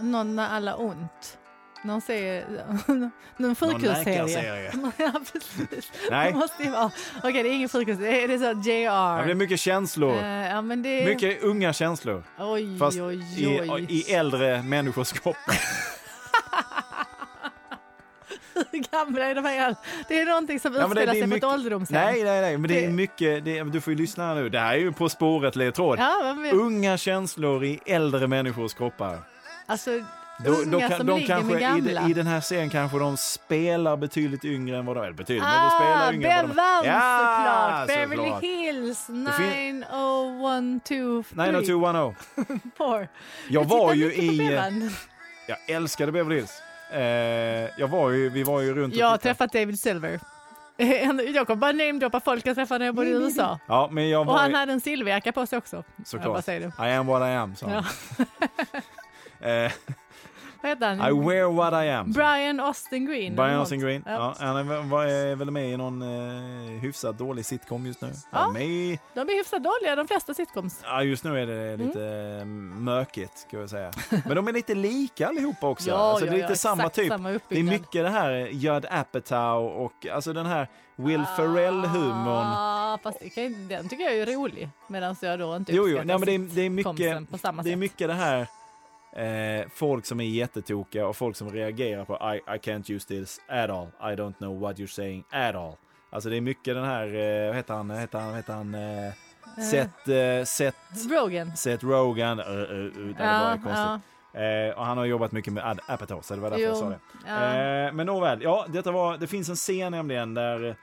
[SPEAKER 1] Någon när alla ont. Någon säger... Någon
[SPEAKER 3] Någon
[SPEAKER 1] sjukhusserie.
[SPEAKER 3] läkarserie.
[SPEAKER 1] ja, precis.
[SPEAKER 3] Nej.
[SPEAKER 1] Det måste ju vara... Okej, det är ingen sjukhus. Det är, det är så
[SPEAKER 3] Ja,
[SPEAKER 1] JR.
[SPEAKER 3] Det är mycket känslor.
[SPEAKER 1] Eh, ja, men det är...
[SPEAKER 3] Mycket unga känslor.
[SPEAKER 1] Oj,
[SPEAKER 3] Fast
[SPEAKER 1] oj,
[SPEAKER 3] i,
[SPEAKER 1] oj.
[SPEAKER 3] i äldre människors kropp.
[SPEAKER 1] Hur gamla är de här? Det är någonting som
[SPEAKER 3] Ja, men det-
[SPEAKER 1] utspelar
[SPEAKER 3] det är
[SPEAKER 1] sig på
[SPEAKER 3] mycket-
[SPEAKER 1] ett ålderdomshem.
[SPEAKER 3] Nej, nej, nej, men det är
[SPEAKER 1] Det-
[SPEAKER 3] mycket, det, är- du får ju lyssna här nu. Det här är ju På spåret ledtråd.
[SPEAKER 1] Ja, men,
[SPEAKER 3] Unga känslor i äldre människors kroppar.
[SPEAKER 1] alltså,
[SPEAKER 3] Då-
[SPEAKER 1] unga
[SPEAKER 3] då kan-
[SPEAKER 1] som
[SPEAKER 3] de
[SPEAKER 1] ligger
[SPEAKER 3] kanske,
[SPEAKER 1] med
[SPEAKER 3] i,
[SPEAKER 1] gamla.
[SPEAKER 3] de- I den här serien kanske de spelar betydligt yngre än vad de är. Betydligt, men de
[SPEAKER 1] Ah,
[SPEAKER 3] spelar yngre än vad de
[SPEAKER 1] Bevan
[SPEAKER 3] Ja,
[SPEAKER 1] såklart! Beverly
[SPEAKER 3] såklart.
[SPEAKER 1] Hills
[SPEAKER 3] fin-
[SPEAKER 1] 90123.
[SPEAKER 3] 90210.
[SPEAKER 1] Poor.
[SPEAKER 3] Jag var
[SPEAKER 1] tittar
[SPEAKER 3] ju
[SPEAKER 1] mycket på
[SPEAKER 3] i...
[SPEAKER 1] Bevan.
[SPEAKER 3] Jag älskade Beverly Hills. Eh, jag var ju, vi var ju runt
[SPEAKER 1] Jag har
[SPEAKER 3] och tittade.
[SPEAKER 1] träffat David Silver. Jag kommer bara namedroppa folk jag träffade när jag bodde i USA.
[SPEAKER 3] Ja, men jag
[SPEAKER 1] Och
[SPEAKER 3] var
[SPEAKER 1] han
[SPEAKER 3] ju,
[SPEAKER 1] hade en silverjacka på sig också. Jag bara
[SPEAKER 3] såklart.
[SPEAKER 1] säger det.
[SPEAKER 3] I am what I am, sa han. Eh,
[SPEAKER 1] Vad heter han?
[SPEAKER 3] I wear what I am. sa han.
[SPEAKER 1] Brian Austin Green.
[SPEAKER 3] Brian
[SPEAKER 1] eller
[SPEAKER 3] Austin
[SPEAKER 1] något.
[SPEAKER 3] Green.
[SPEAKER 1] Ja.
[SPEAKER 3] Ja, han är, väl- var, är väl med i någon eh, hyfsat dålig sitcom just nu.
[SPEAKER 1] Ja.
[SPEAKER 3] Han är med i,
[SPEAKER 1] De är hyfsat dåliga de flesta sitcoms.
[SPEAKER 3] ja, just nu är det lite eh, mökigt, ska jag säga. Men de är lite lika allihopa också.
[SPEAKER 1] Ja,
[SPEAKER 3] alltså,
[SPEAKER 1] ja,
[SPEAKER 3] det är lite
[SPEAKER 1] ja,
[SPEAKER 3] samma
[SPEAKER 1] exakt
[SPEAKER 3] typ.
[SPEAKER 1] samma
[SPEAKER 3] det är
[SPEAKER 1] uppbyggnad.
[SPEAKER 3] mycket det här eh, Judd Apatow och alltså den här Will Ferrell-humorn.
[SPEAKER 1] Ah, fast det kan, den tycker jag är rolig. Medan jag då inte
[SPEAKER 3] Jo, jo,
[SPEAKER 1] uppskattar
[SPEAKER 3] nej, men det är, det är mycket...
[SPEAKER 1] sitcomsen på samma
[SPEAKER 3] Det är
[SPEAKER 1] sätt.
[SPEAKER 3] mycket det här eh, folk som är jättetokiga och folk som reagerar på I, I can't use this at all. I don't know what you're saying at all. Alltså det är mycket den här, eh, vad heter han, vad heter han, vad heter han, eh, Seth, eh, Seth,
[SPEAKER 1] Rogan.
[SPEAKER 3] Seth Rogan. Uh, uh, uh, det var
[SPEAKER 1] ja.
[SPEAKER 3] ju konstigt. Eh, och han har jobbat mycket med Ad Apatow, så det var därför
[SPEAKER 1] Jo,
[SPEAKER 3] jag sa det.
[SPEAKER 1] ja.
[SPEAKER 3] Eh, men nåväl, ja, detta var, det finns en scen nämligen där eh,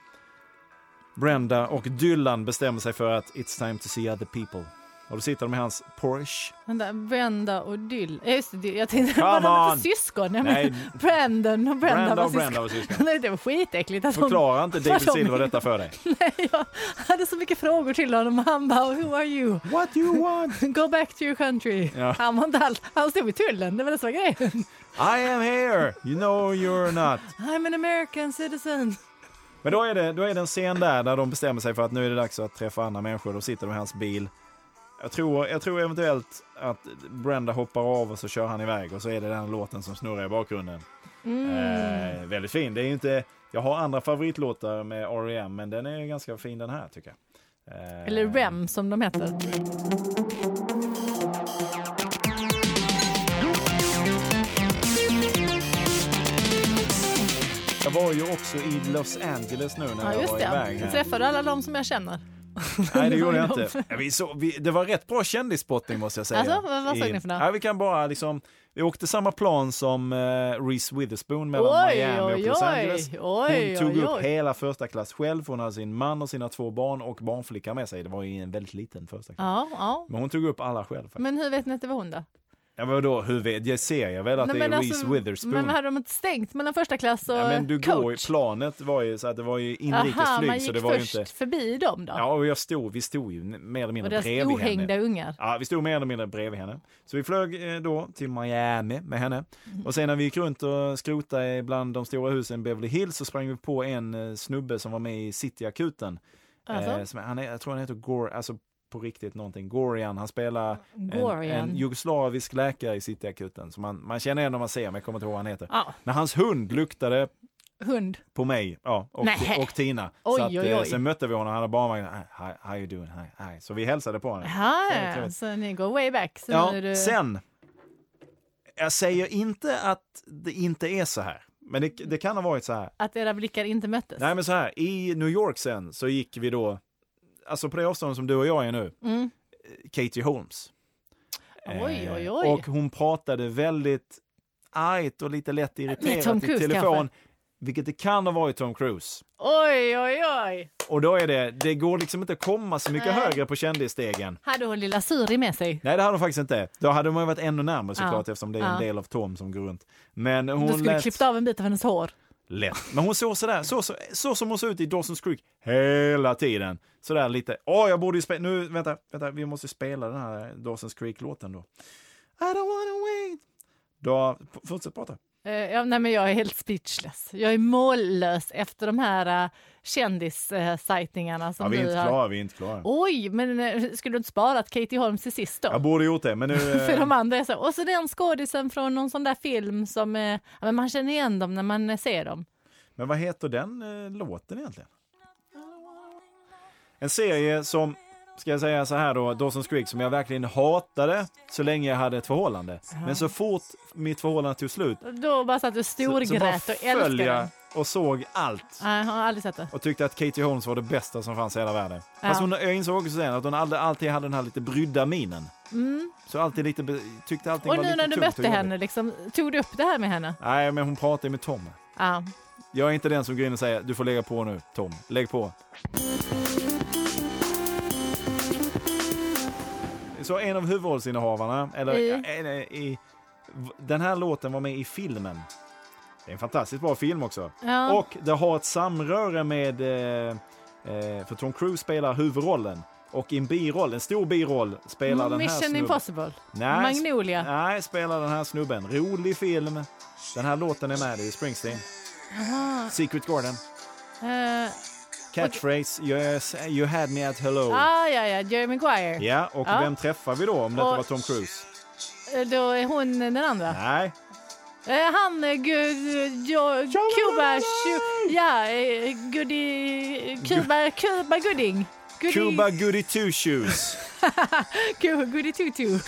[SPEAKER 3] Brenda och Dylan bestämmer sig för att it's time to see other people. Och då sitter de i hans Porsche
[SPEAKER 1] Vänta, Brenda och Dyll. Ja, Just det, Dyl. jag tänkte,
[SPEAKER 3] Come
[SPEAKER 1] var de
[SPEAKER 3] on!
[SPEAKER 1] inte syskon? Jag
[SPEAKER 3] Nej.
[SPEAKER 1] menar, Brandon och Brenda
[SPEAKER 3] Brenda
[SPEAKER 1] var
[SPEAKER 3] och Brenda
[SPEAKER 1] syskon.
[SPEAKER 3] var syskon.
[SPEAKER 1] Nej, det var skitäckligt. Att de,
[SPEAKER 3] Förklara inte David
[SPEAKER 1] Vadå?
[SPEAKER 3] Silver detta för dig.
[SPEAKER 1] nej, jag hade så mycket frågor till honom och han bara, who are you?
[SPEAKER 3] What you want?
[SPEAKER 1] Go back to your country.
[SPEAKER 3] Ja.
[SPEAKER 1] Han var inte alls, han stod vid tullen, det var det som var grejen.
[SPEAKER 3] I am here! You know you're not.
[SPEAKER 1] I'm an American citizen.
[SPEAKER 3] Men då är, det, då är det en scen där, där de bestämmer sig för att nu är det dags att träffa andra människor. Då sitter de i hans bil. Jag tror, jag tror eventuellt att Brenda hoppar av och så kör han iväg och så är det den låten som snurrar i bakgrunden.
[SPEAKER 1] Mm.
[SPEAKER 3] Eh, väldigt fin. Det är ju inte, jag har andra favoritlåtar med R.E.M. men den är ganska fin den här tycker jag. Eh,
[SPEAKER 1] Eller E REM som de heter.
[SPEAKER 3] Jag var ju också i Los Angeles nu när
[SPEAKER 1] Ja,
[SPEAKER 3] jag
[SPEAKER 1] just
[SPEAKER 3] var iväg.
[SPEAKER 1] det.
[SPEAKER 3] här.
[SPEAKER 1] Träffar du alla de som jag känner?
[SPEAKER 3] Nej, det gjorde
[SPEAKER 1] var
[SPEAKER 3] jag
[SPEAKER 1] ju
[SPEAKER 3] inte. Ja, Vi så, vi, det var rätt bra kändisspotting måste jag säga.
[SPEAKER 1] Alltså, vad- vad såg
[SPEAKER 3] I-
[SPEAKER 1] ni för något?
[SPEAKER 3] Ja, vi kan bara liksom, vi åkte samma plan som eh, Reese Witherspoon mellan
[SPEAKER 1] Oj,
[SPEAKER 3] Miami och
[SPEAKER 1] oj,
[SPEAKER 3] Los
[SPEAKER 1] oj.
[SPEAKER 3] Angeles. Hon
[SPEAKER 1] Oj,
[SPEAKER 3] tog
[SPEAKER 1] oj,
[SPEAKER 3] upp
[SPEAKER 1] oj.
[SPEAKER 3] hela första klass själv, hon hade sin man och sina två barn och barnflicka med sig. Det var ju en väldigt liten första klass.
[SPEAKER 1] Ja, ja.
[SPEAKER 3] Men hon tog upp alla själv. faktiskt.
[SPEAKER 1] Men hur vet ni att det var hon då?
[SPEAKER 3] Ja, vadå, hur vet, jag ser jag väl att
[SPEAKER 1] Nej,
[SPEAKER 3] det är
[SPEAKER 1] men
[SPEAKER 3] Reese Witherspoon.
[SPEAKER 1] Men hade de inte stängt mellan första klass och
[SPEAKER 3] ja, men du
[SPEAKER 1] coach?
[SPEAKER 3] går ju, planet var ju så att det var ju
[SPEAKER 1] Aha, man
[SPEAKER 3] inrikesflyg
[SPEAKER 1] gick
[SPEAKER 3] så det var ju
[SPEAKER 1] först
[SPEAKER 3] inte.
[SPEAKER 1] förbi dem då?
[SPEAKER 3] Ja, och jag stod, vi stod ju n- mer eller
[SPEAKER 1] och
[SPEAKER 3] mindre
[SPEAKER 1] deras
[SPEAKER 3] bredvid henne.
[SPEAKER 1] ohängda ungar.
[SPEAKER 3] Ja, vi stod mer eller mindre bredvid henne. Så vi flög eh, då till Miami med henne. Och sen när vi gick runt och skrotade bland de stora husen i Beverly Hills så sprang vi på en eh, snubbe som var med i Cityakuten. Eh,
[SPEAKER 1] Alltså?
[SPEAKER 3] som, han är, jag tror han heter Gore, alltså på riktigt någonting. Gorian, han spelar en,
[SPEAKER 1] Gorian.
[SPEAKER 3] en jugoslavisk läkare i Cityakuten. Så man, man känner igen när man ser, men jag kommer inte ihåg vad han heter.
[SPEAKER 1] Ja,
[SPEAKER 3] När hans hund luktade
[SPEAKER 1] hund.
[SPEAKER 3] på mig ja, och,
[SPEAKER 1] Nej.
[SPEAKER 3] och Tina.
[SPEAKER 1] Oj,
[SPEAKER 3] så att,
[SPEAKER 1] oj,
[SPEAKER 3] eh,
[SPEAKER 1] oj.
[SPEAKER 3] Sen mötte vi honom, han hade barnvagn. Hi, hi, how you doing? Hi, hi. Så vi hälsade på honom. Trevligt,
[SPEAKER 1] Aha,
[SPEAKER 3] trevligt.
[SPEAKER 1] så ni går way back. Så
[SPEAKER 3] Ja,
[SPEAKER 1] nu är du...
[SPEAKER 3] Sen, jag säger inte att det inte är så här. Men det, det kan ha varit så här.
[SPEAKER 1] Att era blickar inte möttes.
[SPEAKER 3] Nej men så här, i New York sen så gick vi då, alltså på det avståndet som du och jag är nu,
[SPEAKER 1] Mm.
[SPEAKER 3] Katie Holmes.
[SPEAKER 1] Oj,
[SPEAKER 3] Eh,
[SPEAKER 1] oj, oj.
[SPEAKER 3] Och hon pratade väldigt argt och lite lätt
[SPEAKER 1] Med Tom
[SPEAKER 3] irriterat i
[SPEAKER 1] Cruise
[SPEAKER 3] telefon.
[SPEAKER 1] kanske?
[SPEAKER 3] Vilket det kan ha varit Tom Cruise.
[SPEAKER 1] Oj, oj, oj.
[SPEAKER 3] Och då är det, det går liksom inte att komma så mycket
[SPEAKER 1] Nej.
[SPEAKER 3] högre på kändisstegen.
[SPEAKER 1] Hade hon lilla Suri med sig?
[SPEAKER 3] Nej det hade hon faktiskt inte. Då hade man ju varit ännu närmare såklart
[SPEAKER 1] Ja.
[SPEAKER 3] eftersom det är en
[SPEAKER 1] Ja.
[SPEAKER 3] del av Tom som går runt. Men
[SPEAKER 1] Du
[SPEAKER 3] hon
[SPEAKER 1] skulle
[SPEAKER 3] lät
[SPEAKER 1] klippt av en bit av hennes hår.
[SPEAKER 3] lätt. Men hon såg sådär, så, så, så som hon såg ut i Dawson's Creek hela tiden. Sådär lite, åh jag borde ju spela, nu vänta, vänta, vi måste spela den här Dawson's Creek-låten då. I don't wanna wait. Då, fortsätt prata.
[SPEAKER 1] Eh, Ja, nej, men jag är helt speechless. Jag är mållös efter de här eh, kändissajtningarna
[SPEAKER 3] Ja,
[SPEAKER 1] som
[SPEAKER 3] vi är
[SPEAKER 1] du
[SPEAKER 3] inte
[SPEAKER 1] har.
[SPEAKER 3] klara, vi är inte klara.
[SPEAKER 1] Oj, men eh, skulle du inte sparat Katie Holmes till sist då?
[SPEAKER 3] Jag borde gjort det, men nu...
[SPEAKER 1] För de andra är så. Och så den skådisen från någon sån där film som eh, ja, men man känner igen dem när man eh, ser dem.
[SPEAKER 3] Men vad heter den eh, låten egentligen? En serie som, ska jag säga så här då, Dawson's Creek, som jag verkligen hatade så länge jag hade ett förhållande. Men så fort mitt förhållande tog slut
[SPEAKER 1] Då bara satt du och
[SPEAKER 3] så, så bara
[SPEAKER 1] storgrät och
[SPEAKER 3] föll
[SPEAKER 1] älskade
[SPEAKER 3] jag
[SPEAKER 1] den.
[SPEAKER 3] och såg allt.
[SPEAKER 1] Nej, jag har aldrig sett det.
[SPEAKER 3] Och tyckte att Katie Holmes var det bästa som fanns i hela världen.
[SPEAKER 1] Ja.
[SPEAKER 3] Fast hon, jag insåg också sen att hon aldrig, alltid hade den här lite brydda minen.
[SPEAKER 1] Mm.
[SPEAKER 3] Så alltid lite, be- tyckte allting
[SPEAKER 1] Och
[SPEAKER 3] var
[SPEAKER 1] nu
[SPEAKER 3] lite
[SPEAKER 1] när du
[SPEAKER 3] tungt och
[SPEAKER 1] mötte
[SPEAKER 3] jobbigt.
[SPEAKER 1] henne, liksom, tog du upp det här med henne?
[SPEAKER 3] Nej, men hon pratade med Tom.
[SPEAKER 1] Ja.
[SPEAKER 3] Jag är inte den som går in och säger du får lägga på nu, Tom. Lägg på. Så en av huvudrollsinnehavarna, eller
[SPEAKER 1] I?
[SPEAKER 3] eh, eh, i, v- den här låten var med i filmen. Det är en fantastiskt bra film också.
[SPEAKER 1] ja.
[SPEAKER 3] Och det har ett samröre med, eh, eh, för Tom Cruise spelar huvudrollen. Och i en biroll, en stor biroll, spelar den här
[SPEAKER 1] Mm, Mission
[SPEAKER 3] snubben.
[SPEAKER 1] Impossible.
[SPEAKER 3] Nej,
[SPEAKER 1] Magnolia.
[SPEAKER 3] nej, spelar den här snubben. Rolig film. Den här låten är med i Springsteen.
[SPEAKER 1] Aha.
[SPEAKER 3] Secret Garden.
[SPEAKER 1] Eh,
[SPEAKER 3] Catchphrase, yes, you had me at hello.
[SPEAKER 1] ah, ja, ja, Jerry Maguire.
[SPEAKER 3] Oh. Ja, och
[SPEAKER 1] Ja.
[SPEAKER 3] vem träffar vi då om det
[SPEAKER 1] Och-
[SPEAKER 3] inte var Tom Cruise?
[SPEAKER 1] Eh, Då är hon den andra.
[SPEAKER 3] Nej,
[SPEAKER 1] Eh, han, eh, gu- jo, Cuba, Chu- ja, eh, Goody, Cuba, Cuba Gooding. Goody,
[SPEAKER 3] Cuba Goody Two Shoes.
[SPEAKER 1] Cu- Goody Tutu.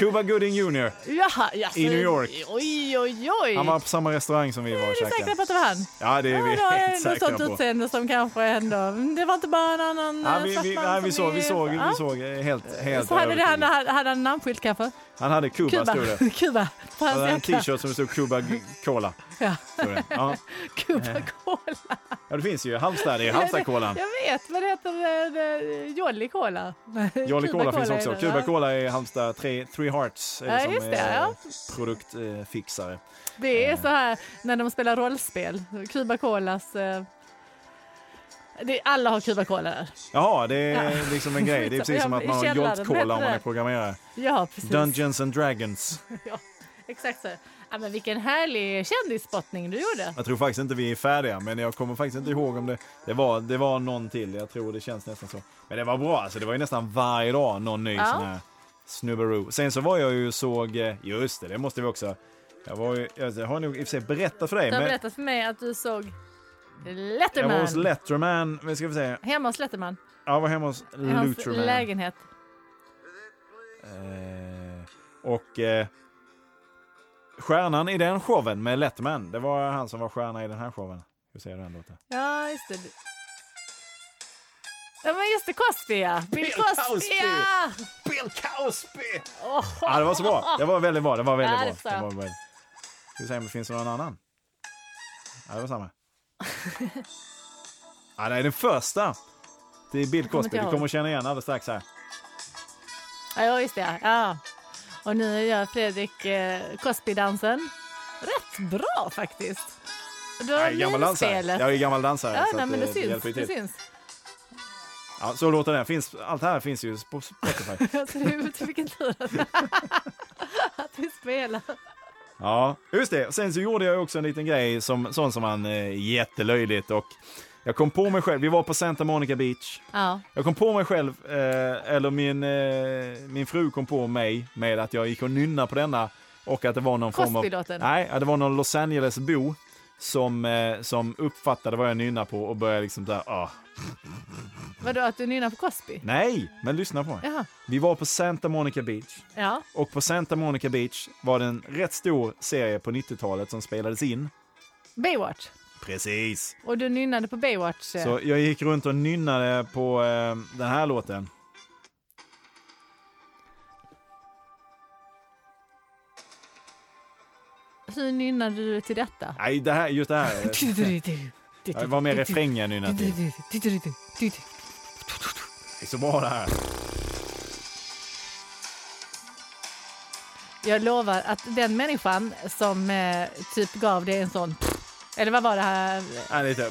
[SPEAKER 3] Cuba Gooding Jr.
[SPEAKER 1] Jaha, jaså.
[SPEAKER 3] I New York.
[SPEAKER 1] Oj, oj, oj.
[SPEAKER 3] Han var på samma restaurang som vi var och
[SPEAKER 1] Är du säker på
[SPEAKER 3] käkade.
[SPEAKER 1] att det var han?
[SPEAKER 3] Ja, det är vi
[SPEAKER 1] ja,
[SPEAKER 3] helt
[SPEAKER 1] det är något
[SPEAKER 3] säkra
[SPEAKER 1] sånt
[SPEAKER 3] på.
[SPEAKER 1] utseende som kanske ändå... Mm, Det var inte bara en annan
[SPEAKER 3] Ja,
[SPEAKER 1] eh,
[SPEAKER 3] vi,
[SPEAKER 1] svart
[SPEAKER 3] vi,
[SPEAKER 1] man
[SPEAKER 3] nej,
[SPEAKER 1] som
[SPEAKER 3] vi såg, vi såg,
[SPEAKER 1] Ja.
[SPEAKER 3] vi såg eh, helt, helt
[SPEAKER 1] Så hade det, han,
[SPEAKER 3] övertygad.
[SPEAKER 1] hade han namnskylt kanske?
[SPEAKER 3] Han hade Cuba, stod det.
[SPEAKER 1] Kuba. Kuba. På
[SPEAKER 3] Han
[SPEAKER 1] hans
[SPEAKER 3] hade en
[SPEAKER 1] jacka.
[SPEAKER 3] t-shirt som det stod Cuba G- Cola.
[SPEAKER 1] Ja.
[SPEAKER 3] stod det. Ja.
[SPEAKER 1] Kuba
[SPEAKER 3] Eh.
[SPEAKER 1] Cola.
[SPEAKER 3] ja, det finns ju. Halmstad, det är Halmstad-colan.
[SPEAKER 1] Jag vet, vad det heter det? Jolly Cola.
[SPEAKER 3] Jolly
[SPEAKER 1] Cuba
[SPEAKER 3] Cola finns
[SPEAKER 1] är
[SPEAKER 3] också.
[SPEAKER 1] det,
[SPEAKER 3] Cuba
[SPEAKER 1] ja.
[SPEAKER 3] Cola är Halmstad Three, three Hearts eh,
[SPEAKER 1] Ja,
[SPEAKER 3] som
[SPEAKER 1] just det,
[SPEAKER 3] är
[SPEAKER 1] ja.
[SPEAKER 3] produktfixare.
[SPEAKER 1] Det
[SPEAKER 3] Eh.
[SPEAKER 1] är så här när de spelar rollspel. Cuba Colas... eh, Det, alla har Cuba Cola där.
[SPEAKER 3] Jaha, det är liksom en grej. Det är precis som att man har
[SPEAKER 1] I källaren,
[SPEAKER 3] Jolt Cola om man
[SPEAKER 1] heter
[SPEAKER 3] är
[SPEAKER 1] det?
[SPEAKER 3] programmerare.
[SPEAKER 1] Ja, precis.
[SPEAKER 3] Dungeons and Dragons.
[SPEAKER 1] Ja, exakt så. Ja, men vilken härlig kändisspottning du gjorde.
[SPEAKER 3] Jag tror faktiskt inte vi är färdiga, men jag kommer faktiskt inte ihåg om det... Det var, det var någon till, jag tror det känns nästan så. Men det var bra, alltså det var ju nästan varje dag någon ny
[SPEAKER 1] Ja.
[SPEAKER 3] sån här snubberoo. Sen så var jag ju och såg, eh, just det, det måste vi också... Jag, var ju, jag har nog i och för sig berättat för dig,
[SPEAKER 1] Du har
[SPEAKER 3] men
[SPEAKER 1] berättat för mig att du såg
[SPEAKER 3] jag var
[SPEAKER 1] Letterman.
[SPEAKER 3] hos Letterman, vi ska vi säga,
[SPEAKER 1] Hemma hos Letterman.
[SPEAKER 3] jag var hemma hos
[SPEAKER 1] I hans
[SPEAKER 3] Luterman.
[SPEAKER 1] lägenhet.
[SPEAKER 3] Eh, och eh, stjärnan i den showen med Letterman, det var han som var stjärna i den här showen. Hur säger den låten?
[SPEAKER 1] Ja, just det. Ja, men just det. Cosby, ja. Bill
[SPEAKER 3] Bill
[SPEAKER 1] Cosby,
[SPEAKER 3] Cosby.
[SPEAKER 1] ja!
[SPEAKER 3] Bill Cosby!
[SPEAKER 1] Åh,
[SPEAKER 3] Ja, det var så bra. Det var väldigt bra. Det var väldigt
[SPEAKER 1] Ja, det
[SPEAKER 3] bra.
[SPEAKER 1] är
[SPEAKER 3] Det
[SPEAKER 1] så.
[SPEAKER 3] var väldigt... Ska vi se om det finns någon annan? Ja, det var samma. ja, det är den första. Det är Bill
[SPEAKER 1] kommer inte
[SPEAKER 3] Cosby. Du
[SPEAKER 1] ihåg.
[SPEAKER 3] kommer känna igen alldeles strax här.
[SPEAKER 1] Ja, just det. ja. Ja. Och nu gör Fredrik eh, Cosby-dansen. Rätt bra faktiskt. Du har
[SPEAKER 3] Jag är gammal dansare.
[SPEAKER 1] minspelet.
[SPEAKER 3] Jag är gammal dansare.
[SPEAKER 1] Ja,
[SPEAKER 3] så
[SPEAKER 1] nej,
[SPEAKER 3] att,
[SPEAKER 1] men
[SPEAKER 3] eh,
[SPEAKER 1] det syns.
[SPEAKER 3] hjälper ju
[SPEAKER 1] Det
[SPEAKER 3] till.
[SPEAKER 1] syns.
[SPEAKER 3] Ja, så låter den. Finns, allt här finns ju på Spotify.
[SPEAKER 1] Alltså, det är- vilken tur att, att vi spelar.
[SPEAKER 3] Ja, just det. Sen så gjorde jag också en liten grej, som, sån som man eh, jättelöjligt och jag kom på mig själv, vi var på Santa Monica Beach.
[SPEAKER 1] Ja.
[SPEAKER 3] Jag kom på mig själv, eh, eller min, eh, min fru kom på mig med att jag gick och nynna på denna och att det var någon form av...
[SPEAKER 1] Cosby-låten?
[SPEAKER 3] Nej, att det var någon Los Angeles-bo som, eh, som uppfattade vad jag nynnade på och började liksom där, ah.
[SPEAKER 1] Vadå, att du nynnar på Cosby?
[SPEAKER 3] Nej, men lyssna på mig.
[SPEAKER 1] Jaha.
[SPEAKER 3] Vi var på Santa Monica Beach.
[SPEAKER 1] Ja.
[SPEAKER 3] Och på Santa Monica Beach var det en rätt stor serie på 90-talet som spelades in.
[SPEAKER 1] Baywatch.
[SPEAKER 3] Precis.
[SPEAKER 1] Och du nynnade på Baywatch. eh.
[SPEAKER 3] Så jag gick runt och nynnade på eh, den här låten.
[SPEAKER 1] Hur nynnade du till detta?
[SPEAKER 3] Nej, det här, just det här. Det var mer refrängen jag nynnade till. Det är så bra det här.
[SPEAKER 1] Jag lovar att den människan som eh, typ gav dig en sån... Eller vad var det här?
[SPEAKER 3] Ja, lite,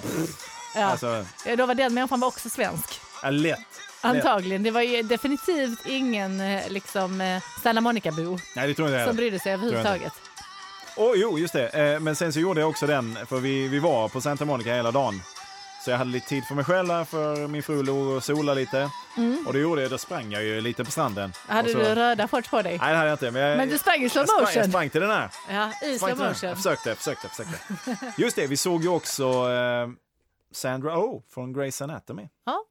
[SPEAKER 1] Ja.
[SPEAKER 3] alltså,
[SPEAKER 1] Jag lovar, den människan var också svensk.
[SPEAKER 3] ja, lätt. lätt.
[SPEAKER 1] Antagligen. Det var ju definitivt ingen eh, liksom, eh, Santa Monica-bo
[SPEAKER 3] Nej, det tror jag inte
[SPEAKER 1] som
[SPEAKER 3] heller.
[SPEAKER 1] brydde sig överhuvudtaget.
[SPEAKER 3] Åh, jo, just det. Eh, Men sen så gjorde jag också den, för vi, vi var på Santa Monica hela dagen. Så jag hade lite tid för mig själv där, för min fru låg och solade lite. Och det gjorde jag, då sprang jag ju lite på stranden.
[SPEAKER 1] Mm. Hade
[SPEAKER 3] Och så,
[SPEAKER 1] du röda shorts på dig?
[SPEAKER 3] Nej, det hade jag inte. Men, jag,
[SPEAKER 1] Men du sprang i slow
[SPEAKER 3] jag sprang,
[SPEAKER 1] motion.
[SPEAKER 3] Jag sprang till den här.
[SPEAKER 1] Ja, i
[SPEAKER 3] Sprang
[SPEAKER 1] slow
[SPEAKER 3] Alltså- till den här.
[SPEAKER 1] motion.
[SPEAKER 3] Jag försökte, jag försökte, jag försökte. Just det, vi såg ju också eh, Sandra Oh från Grey's Anatomy.
[SPEAKER 1] Ja,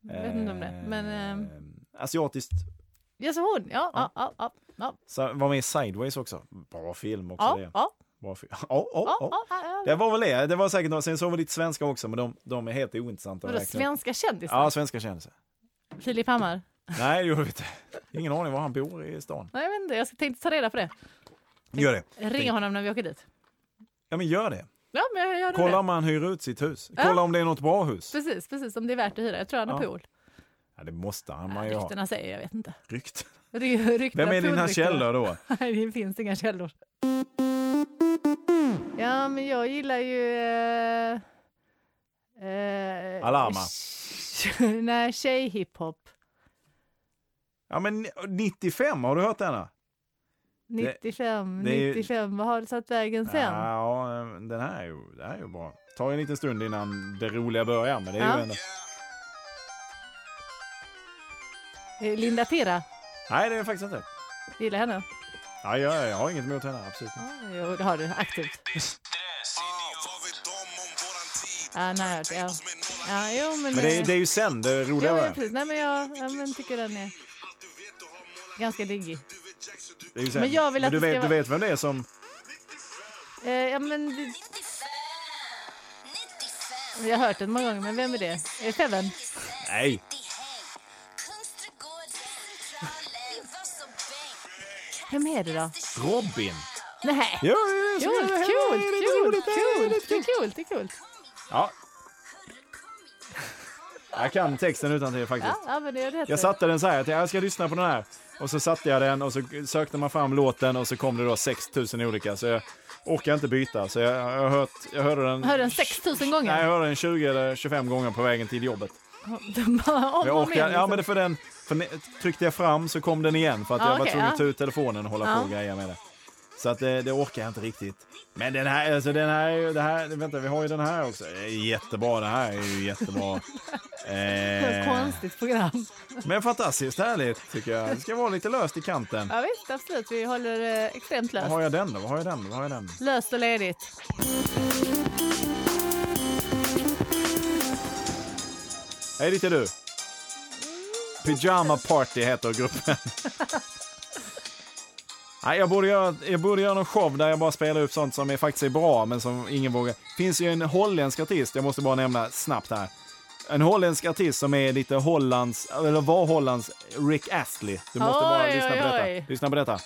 [SPEAKER 1] jag vet inte om det. Men eh,
[SPEAKER 3] Eh, asiatiskt.
[SPEAKER 1] jag såg hon. Ja, ja, ja. ja, ja.
[SPEAKER 3] Så var med i Sideways också. Bra film också
[SPEAKER 1] Ja,
[SPEAKER 3] det.
[SPEAKER 1] ja,
[SPEAKER 3] Bra film. Ja, ja,
[SPEAKER 1] ja,
[SPEAKER 3] ja.
[SPEAKER 1] ja, ja.
[SPEAKER 3] Det var väl det. Det var säkert några. Sen såg vi lite svenska också, men de, de är helt ointressanta.
[SPEAKER 1] Vadå,
[SPEAKER 3] verkligen.
[SPEAKER 1] svenska kändisar?
[SPEAKER 3] Ja, svenska kändisar.
[SPEAKER 1] Filip Hammar?
[SPEAKER 3] Nej, det gjorde vi inte. Ingen aning var han bor i stan.
[SPEAKER 1] Nej, jag vet inte. Jag tänkte ta reda på det.
[SPEAKER 3] Gör det.
[SPEAKER 1] Ring honom när vi åker dit.
[SPEAKER 3] Ja, men gör det.
[SPEAKER 1] Ja, men jag gör
[SPEAKER 3] Kolla
[SPEAKER 1] det.
[SPEAKER 3] om han hyr ut sitt hus. Kolla om det är något bra hus.
[SPEAKER 1] Precis, precis. Om det är värt att hyra. Jag tror han har
[SPEAKER 3] Ja.
[SPEAKER 1] pool.
[SPEAKER 3] Ja, det måste han man ju ha.
[SPEAKER 1] Ryktena säger, jag vet inte.
[SPEAKER 3] Rykt.
[SPEAKER 1] Ry- ryktena-
[SPEAKER 3] Vem är dina
[SPEAKER 1] poolryktena.
[SPEAKER 3] källor då?
[SPEAKER 1] Nej, det finns inga källor. Ja, men jag gillar ju... Eh, eh,
[SPEAKER 3] Alama.
[SPEAKER 1] sh- Nej, tjejhiphop.
[SPEAKER 3] Ja, men 95, har du hört denna?
[SPEAKER 1] 95,
[SPEAKER 3] det är ju-
[SPEAKER 1] 95. Vad har du satt vägen sen?
[SPEAKER 3] Ja, den här är ju, det här är ju bra. Tar en liten stund innan det roliga börjar, men det är
[SPEAKER 1] Ja.
[SPEAKER 3] ju ändå...
[SPEAKER 1] Eh, Linda Pira.
[SPEAKER 3] Nej, det är faktiskt inte.
[SPEAKER 1] Gillar henne.
[SPEAKER 3] Ja, jag, jag har inget emot henne, absolut inte.
[SPEAKER 1] Ja, jo, det har du. Aktivt.
[SPEAKER 4] Vad vet de om våran tid?
[SPEAKER 1] Ja, Ah, nej, jag- ja. ja, jo, men...
[SPEAKER 3] Men det,
[SPEAKER 1] eh,
[SPEAKER 3] är- det är ju sen det roliga
[SPEAKER 1] Ja, men
[SPEAKER 3] börjar.
[SPEAKER 1] precis. Nej, men jag ja, men tycker den är ganska diggig.
[SPEAKER 3] Det är ju sen.
[SPEAKER 1] Men jag vill att
[SPEAKER 3] du,
[SPEAKER 1] det ska
[SPEAKER 3] vet, du
[SPEAKER 1] vara-
[SPEAKER 3] vet vem det är som...
[SPEAKER 1] Eh, ja, men det, jag har hört den många gånger, men vem är det? Eh, Är det Feven?
[SPEAKER 3] Nej,
[SPEAKER 1] Vem är det då?
[SPEAKER 3] Robin.
[SPEAKER 1] Nej.
[SPEAKER 3] Jo, jo,
[SPEAKER 1] Jo,
[SPEAKER 3] jo,
[SPEAKER 1] kul,
[SPEAKER 3] jo,
[SPEAKER 1] kul,
[SPEAKER 3] jo,
[SPEAKER 1] kul,
[SPEAKER 3] jo, jo, jo,
[SPEAKER 1] kul,
[SPEAKER 3] jo.
[SPEAKER 1] det är kul, det är kul.
[SPEAKER 3] Ja. Jag kan texten utan till faktiskt.
[SPEAKER 1] Ja, ja, men det är rätt.
[SPEAKER 3] Jag satte den så här, jag tänkte, jag ska lyssna på den här. Och så satte jag den och så sökte man fram låten och så kom det då 6000 olika. Så jag orkar inte byta. Så jag, jag, har hört, jag hörde den...
[SPEAKER 1] Hörde den 6000 gånger?
[SPEAKER 3] Nej, jag hörde den 20 eller 25 gånger på vägen till jobbet.
[SPEAKER 1] De bara om
[SPEAKER 3] Jag
[SPEAKER 1] och om igen.
[SPEAKER 3] orkar, ja,
[SPEAKER 1] liksom.
[SPEAKER 3] men det är för den, för ne- tryckte jag fram så kom den igen för att
[SPEAKER 1] Ja,
[SPEAKER 3] jag var
[SPEAKER 1] okej,
[SPEAKER 3] tvungen
[SPEAKER 1] ja.
[SPEAKER 3] att ta ut telefonen och hålla på
[SPEAKER 1] Ja.
[SPEAKER 3] och greja med det. Så att det, det orkar jag inte riktigt. Men den här, alltså den här, är ju- det här, vänta vi har ju den här också. Det är Jättebra, det här är ju jättebra.
[SPEAKER 1] Det är ett
[SPEAKER 3] eh,
[SPEAKER 1] konstigt program.
[SPEAKER 3] men fantastiskt härligt tycker jag. Det ska vara lite löst i kanten.
[SPEAKER 1] Ja, visst, absolut. Vi håller eh, extremt
[SPEAKER 3] Vad
[SPEAKER 1] löst.
[SPEAKER 3] har jag den då? Vad har jag den? Vad har jag den?
[SPEAKER 1] Löst och ledigt.
[SPEAKER 3] Hej, det är du. Pyjama Party heter gruppen. Nej, jag, borde göra, jag borde göra någon show där jag bara spelar upp sånt som är, faktiskt är bra, men som ingen vågar. finns ju en holländsk artist, jag måste bara nämna snabbt här. En holländsk artist som är lite Hollands, eller var Hollands, Rick Astley. Du måste bara
[SPEAKER 1] Oj,
[SPEAKER 3] lyssna på
[SPEAKER 1] oj,
[SPEAKER 3] detta.
[SPEAKER 1] oj.
[SPEAKER 3] Lyssna på detta.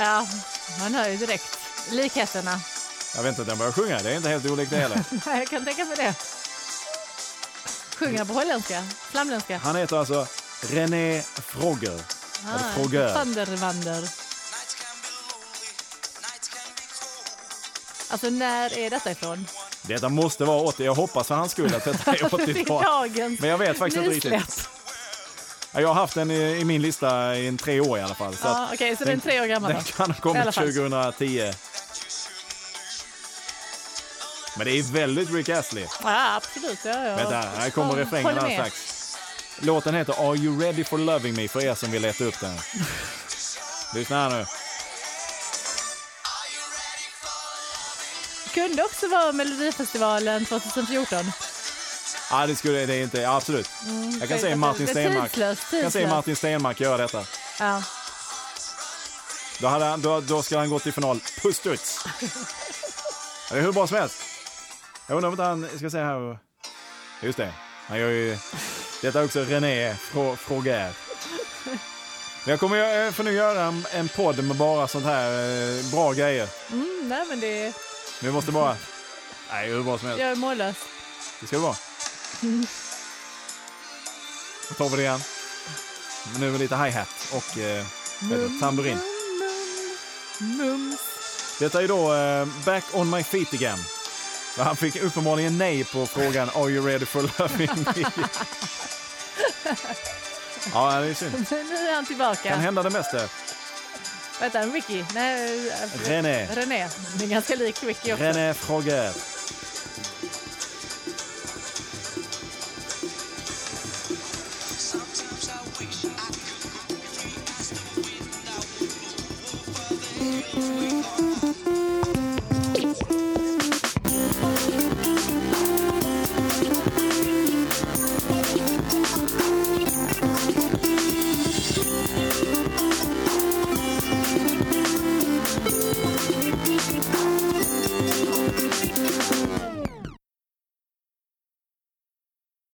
[SPEAKER 1] Ja, man hör ju direkt likheterna.
[SPEAKER 3] Jag vet inte att jag börjar sjunga, det är inte helt olikt det heller.
[SPEAKER 1] Nej, jag kan tänka mig det. Sjunga på holländska, flamländska.
[SPEAKER 3] Han heter alltså René Frogger.
[SPEAKER 1] Ah,
[SPEAKER 3] eller Frogger.
[SPEAKER 1] Vanderwander. Alltså, när är detta ifrån?
[SPEAKER 3] Detta måste vara 80, jag hoppas för hans skull att detta är
[SPEAKER 1] Det
[SPEAKER 3] 80-tal.
[SPEAKER 1] är dagens
[SPEAKER 3] Men jag vet faktiskt inte riktigt.
[SPEAKER 1] nysläpp.
[SPEAKER 3] Ja, Jag har haft den i, i min lista i en tre år i alla fall. Så
[SPEAKER 1] Ja,
[SPEAKER 3] att
[SPEAKER 1] Okej, så den är tre år gammal.
[SPEAKER 3] den
[SPEAKER 1] då.
[SPEAKER 3] kan ha
[SPEAKER 1] I alla
[SPEAKER 3] kommit
[SPEAKER 1] fall.
[SPEAKER 3] 2010. Men det är väldigt Rick Astley.
[SPEAKER 1] Ja, absolut. Ja, ja.
[SPEAKER 3] Vänta, här kommer
[SPEAKER 1] Håll-
[SPEAKER 3] refrängen
[SPEAKER 1] håller
[SPEAKER 3] alldeles
[SPEAKER 1] med.
[SPEAKER 3] strax. Låten heter Are You Ready For Loving Me för er som vill leta upp den. Lyssna här nu.
[SPEAKER 1] kunde också vara Melodifestivalen 2014.
[SPEAKER 3] Ja, det skulle det är inte, ja, absolut.
[SPEAKER 1] Mm,
[SPEAKER 3] Jag kan
[SPEAKER 1] det-
[SPEAKER 3] se Martin
[SPEAKER 1] Typ. det är
[SPEAKER 3] Stenmarck.
[SPEAKER 1] tidslöst,
[SPEAKER 3] Jag kan se
[SPEAKER 1] tidslöst.
[SPEAKER 3] Martin Stenmarck göra detta.
[SPEAKER 1] Ja.
[SPEAKER 3] Då, hade han, då, då ska han gå till final. Pustuts! Det är hur bra som helst. Jag undrar om inte han, ska se här. Just det, han gör ju... Detta är också René Frå- Frågère. Men jag kommer gö- för nu göra en, en podd med bara sånt här eh, bra grejer.
[SPEAKER 1] Mm, nej, men det
[SPEAKER 3] Vi måste bara... Nej, hur bra som helst.
[SPEAKER 1] jag är mållös.
[SPEAKER 3] Det ska det vara. Då tar vi det igen. Men nu med lite hi-hat och eh, vad heter det? tamburin.
[SPEAKER 1] Mums.
[SPEAKER 3] Detta är då eh, Back on my feet again. Och Han fick uppenbarligen nej på frågan Are you ready for loving me? ja, det är synd.
[SPEAKER 1] Nu är han
[SPEAKER 3] Kan
[SPEAKER 1] tillbaka.
[SPEAKER 3] hända det mesta.
[SPEAKER 1] Vänta, Ricky. Nej, eh,
[SPEAKER 3] René.
[SPEAKER 1] René. Det är ganska lik Ricky också.
[SPEAKER 3] René Frågère.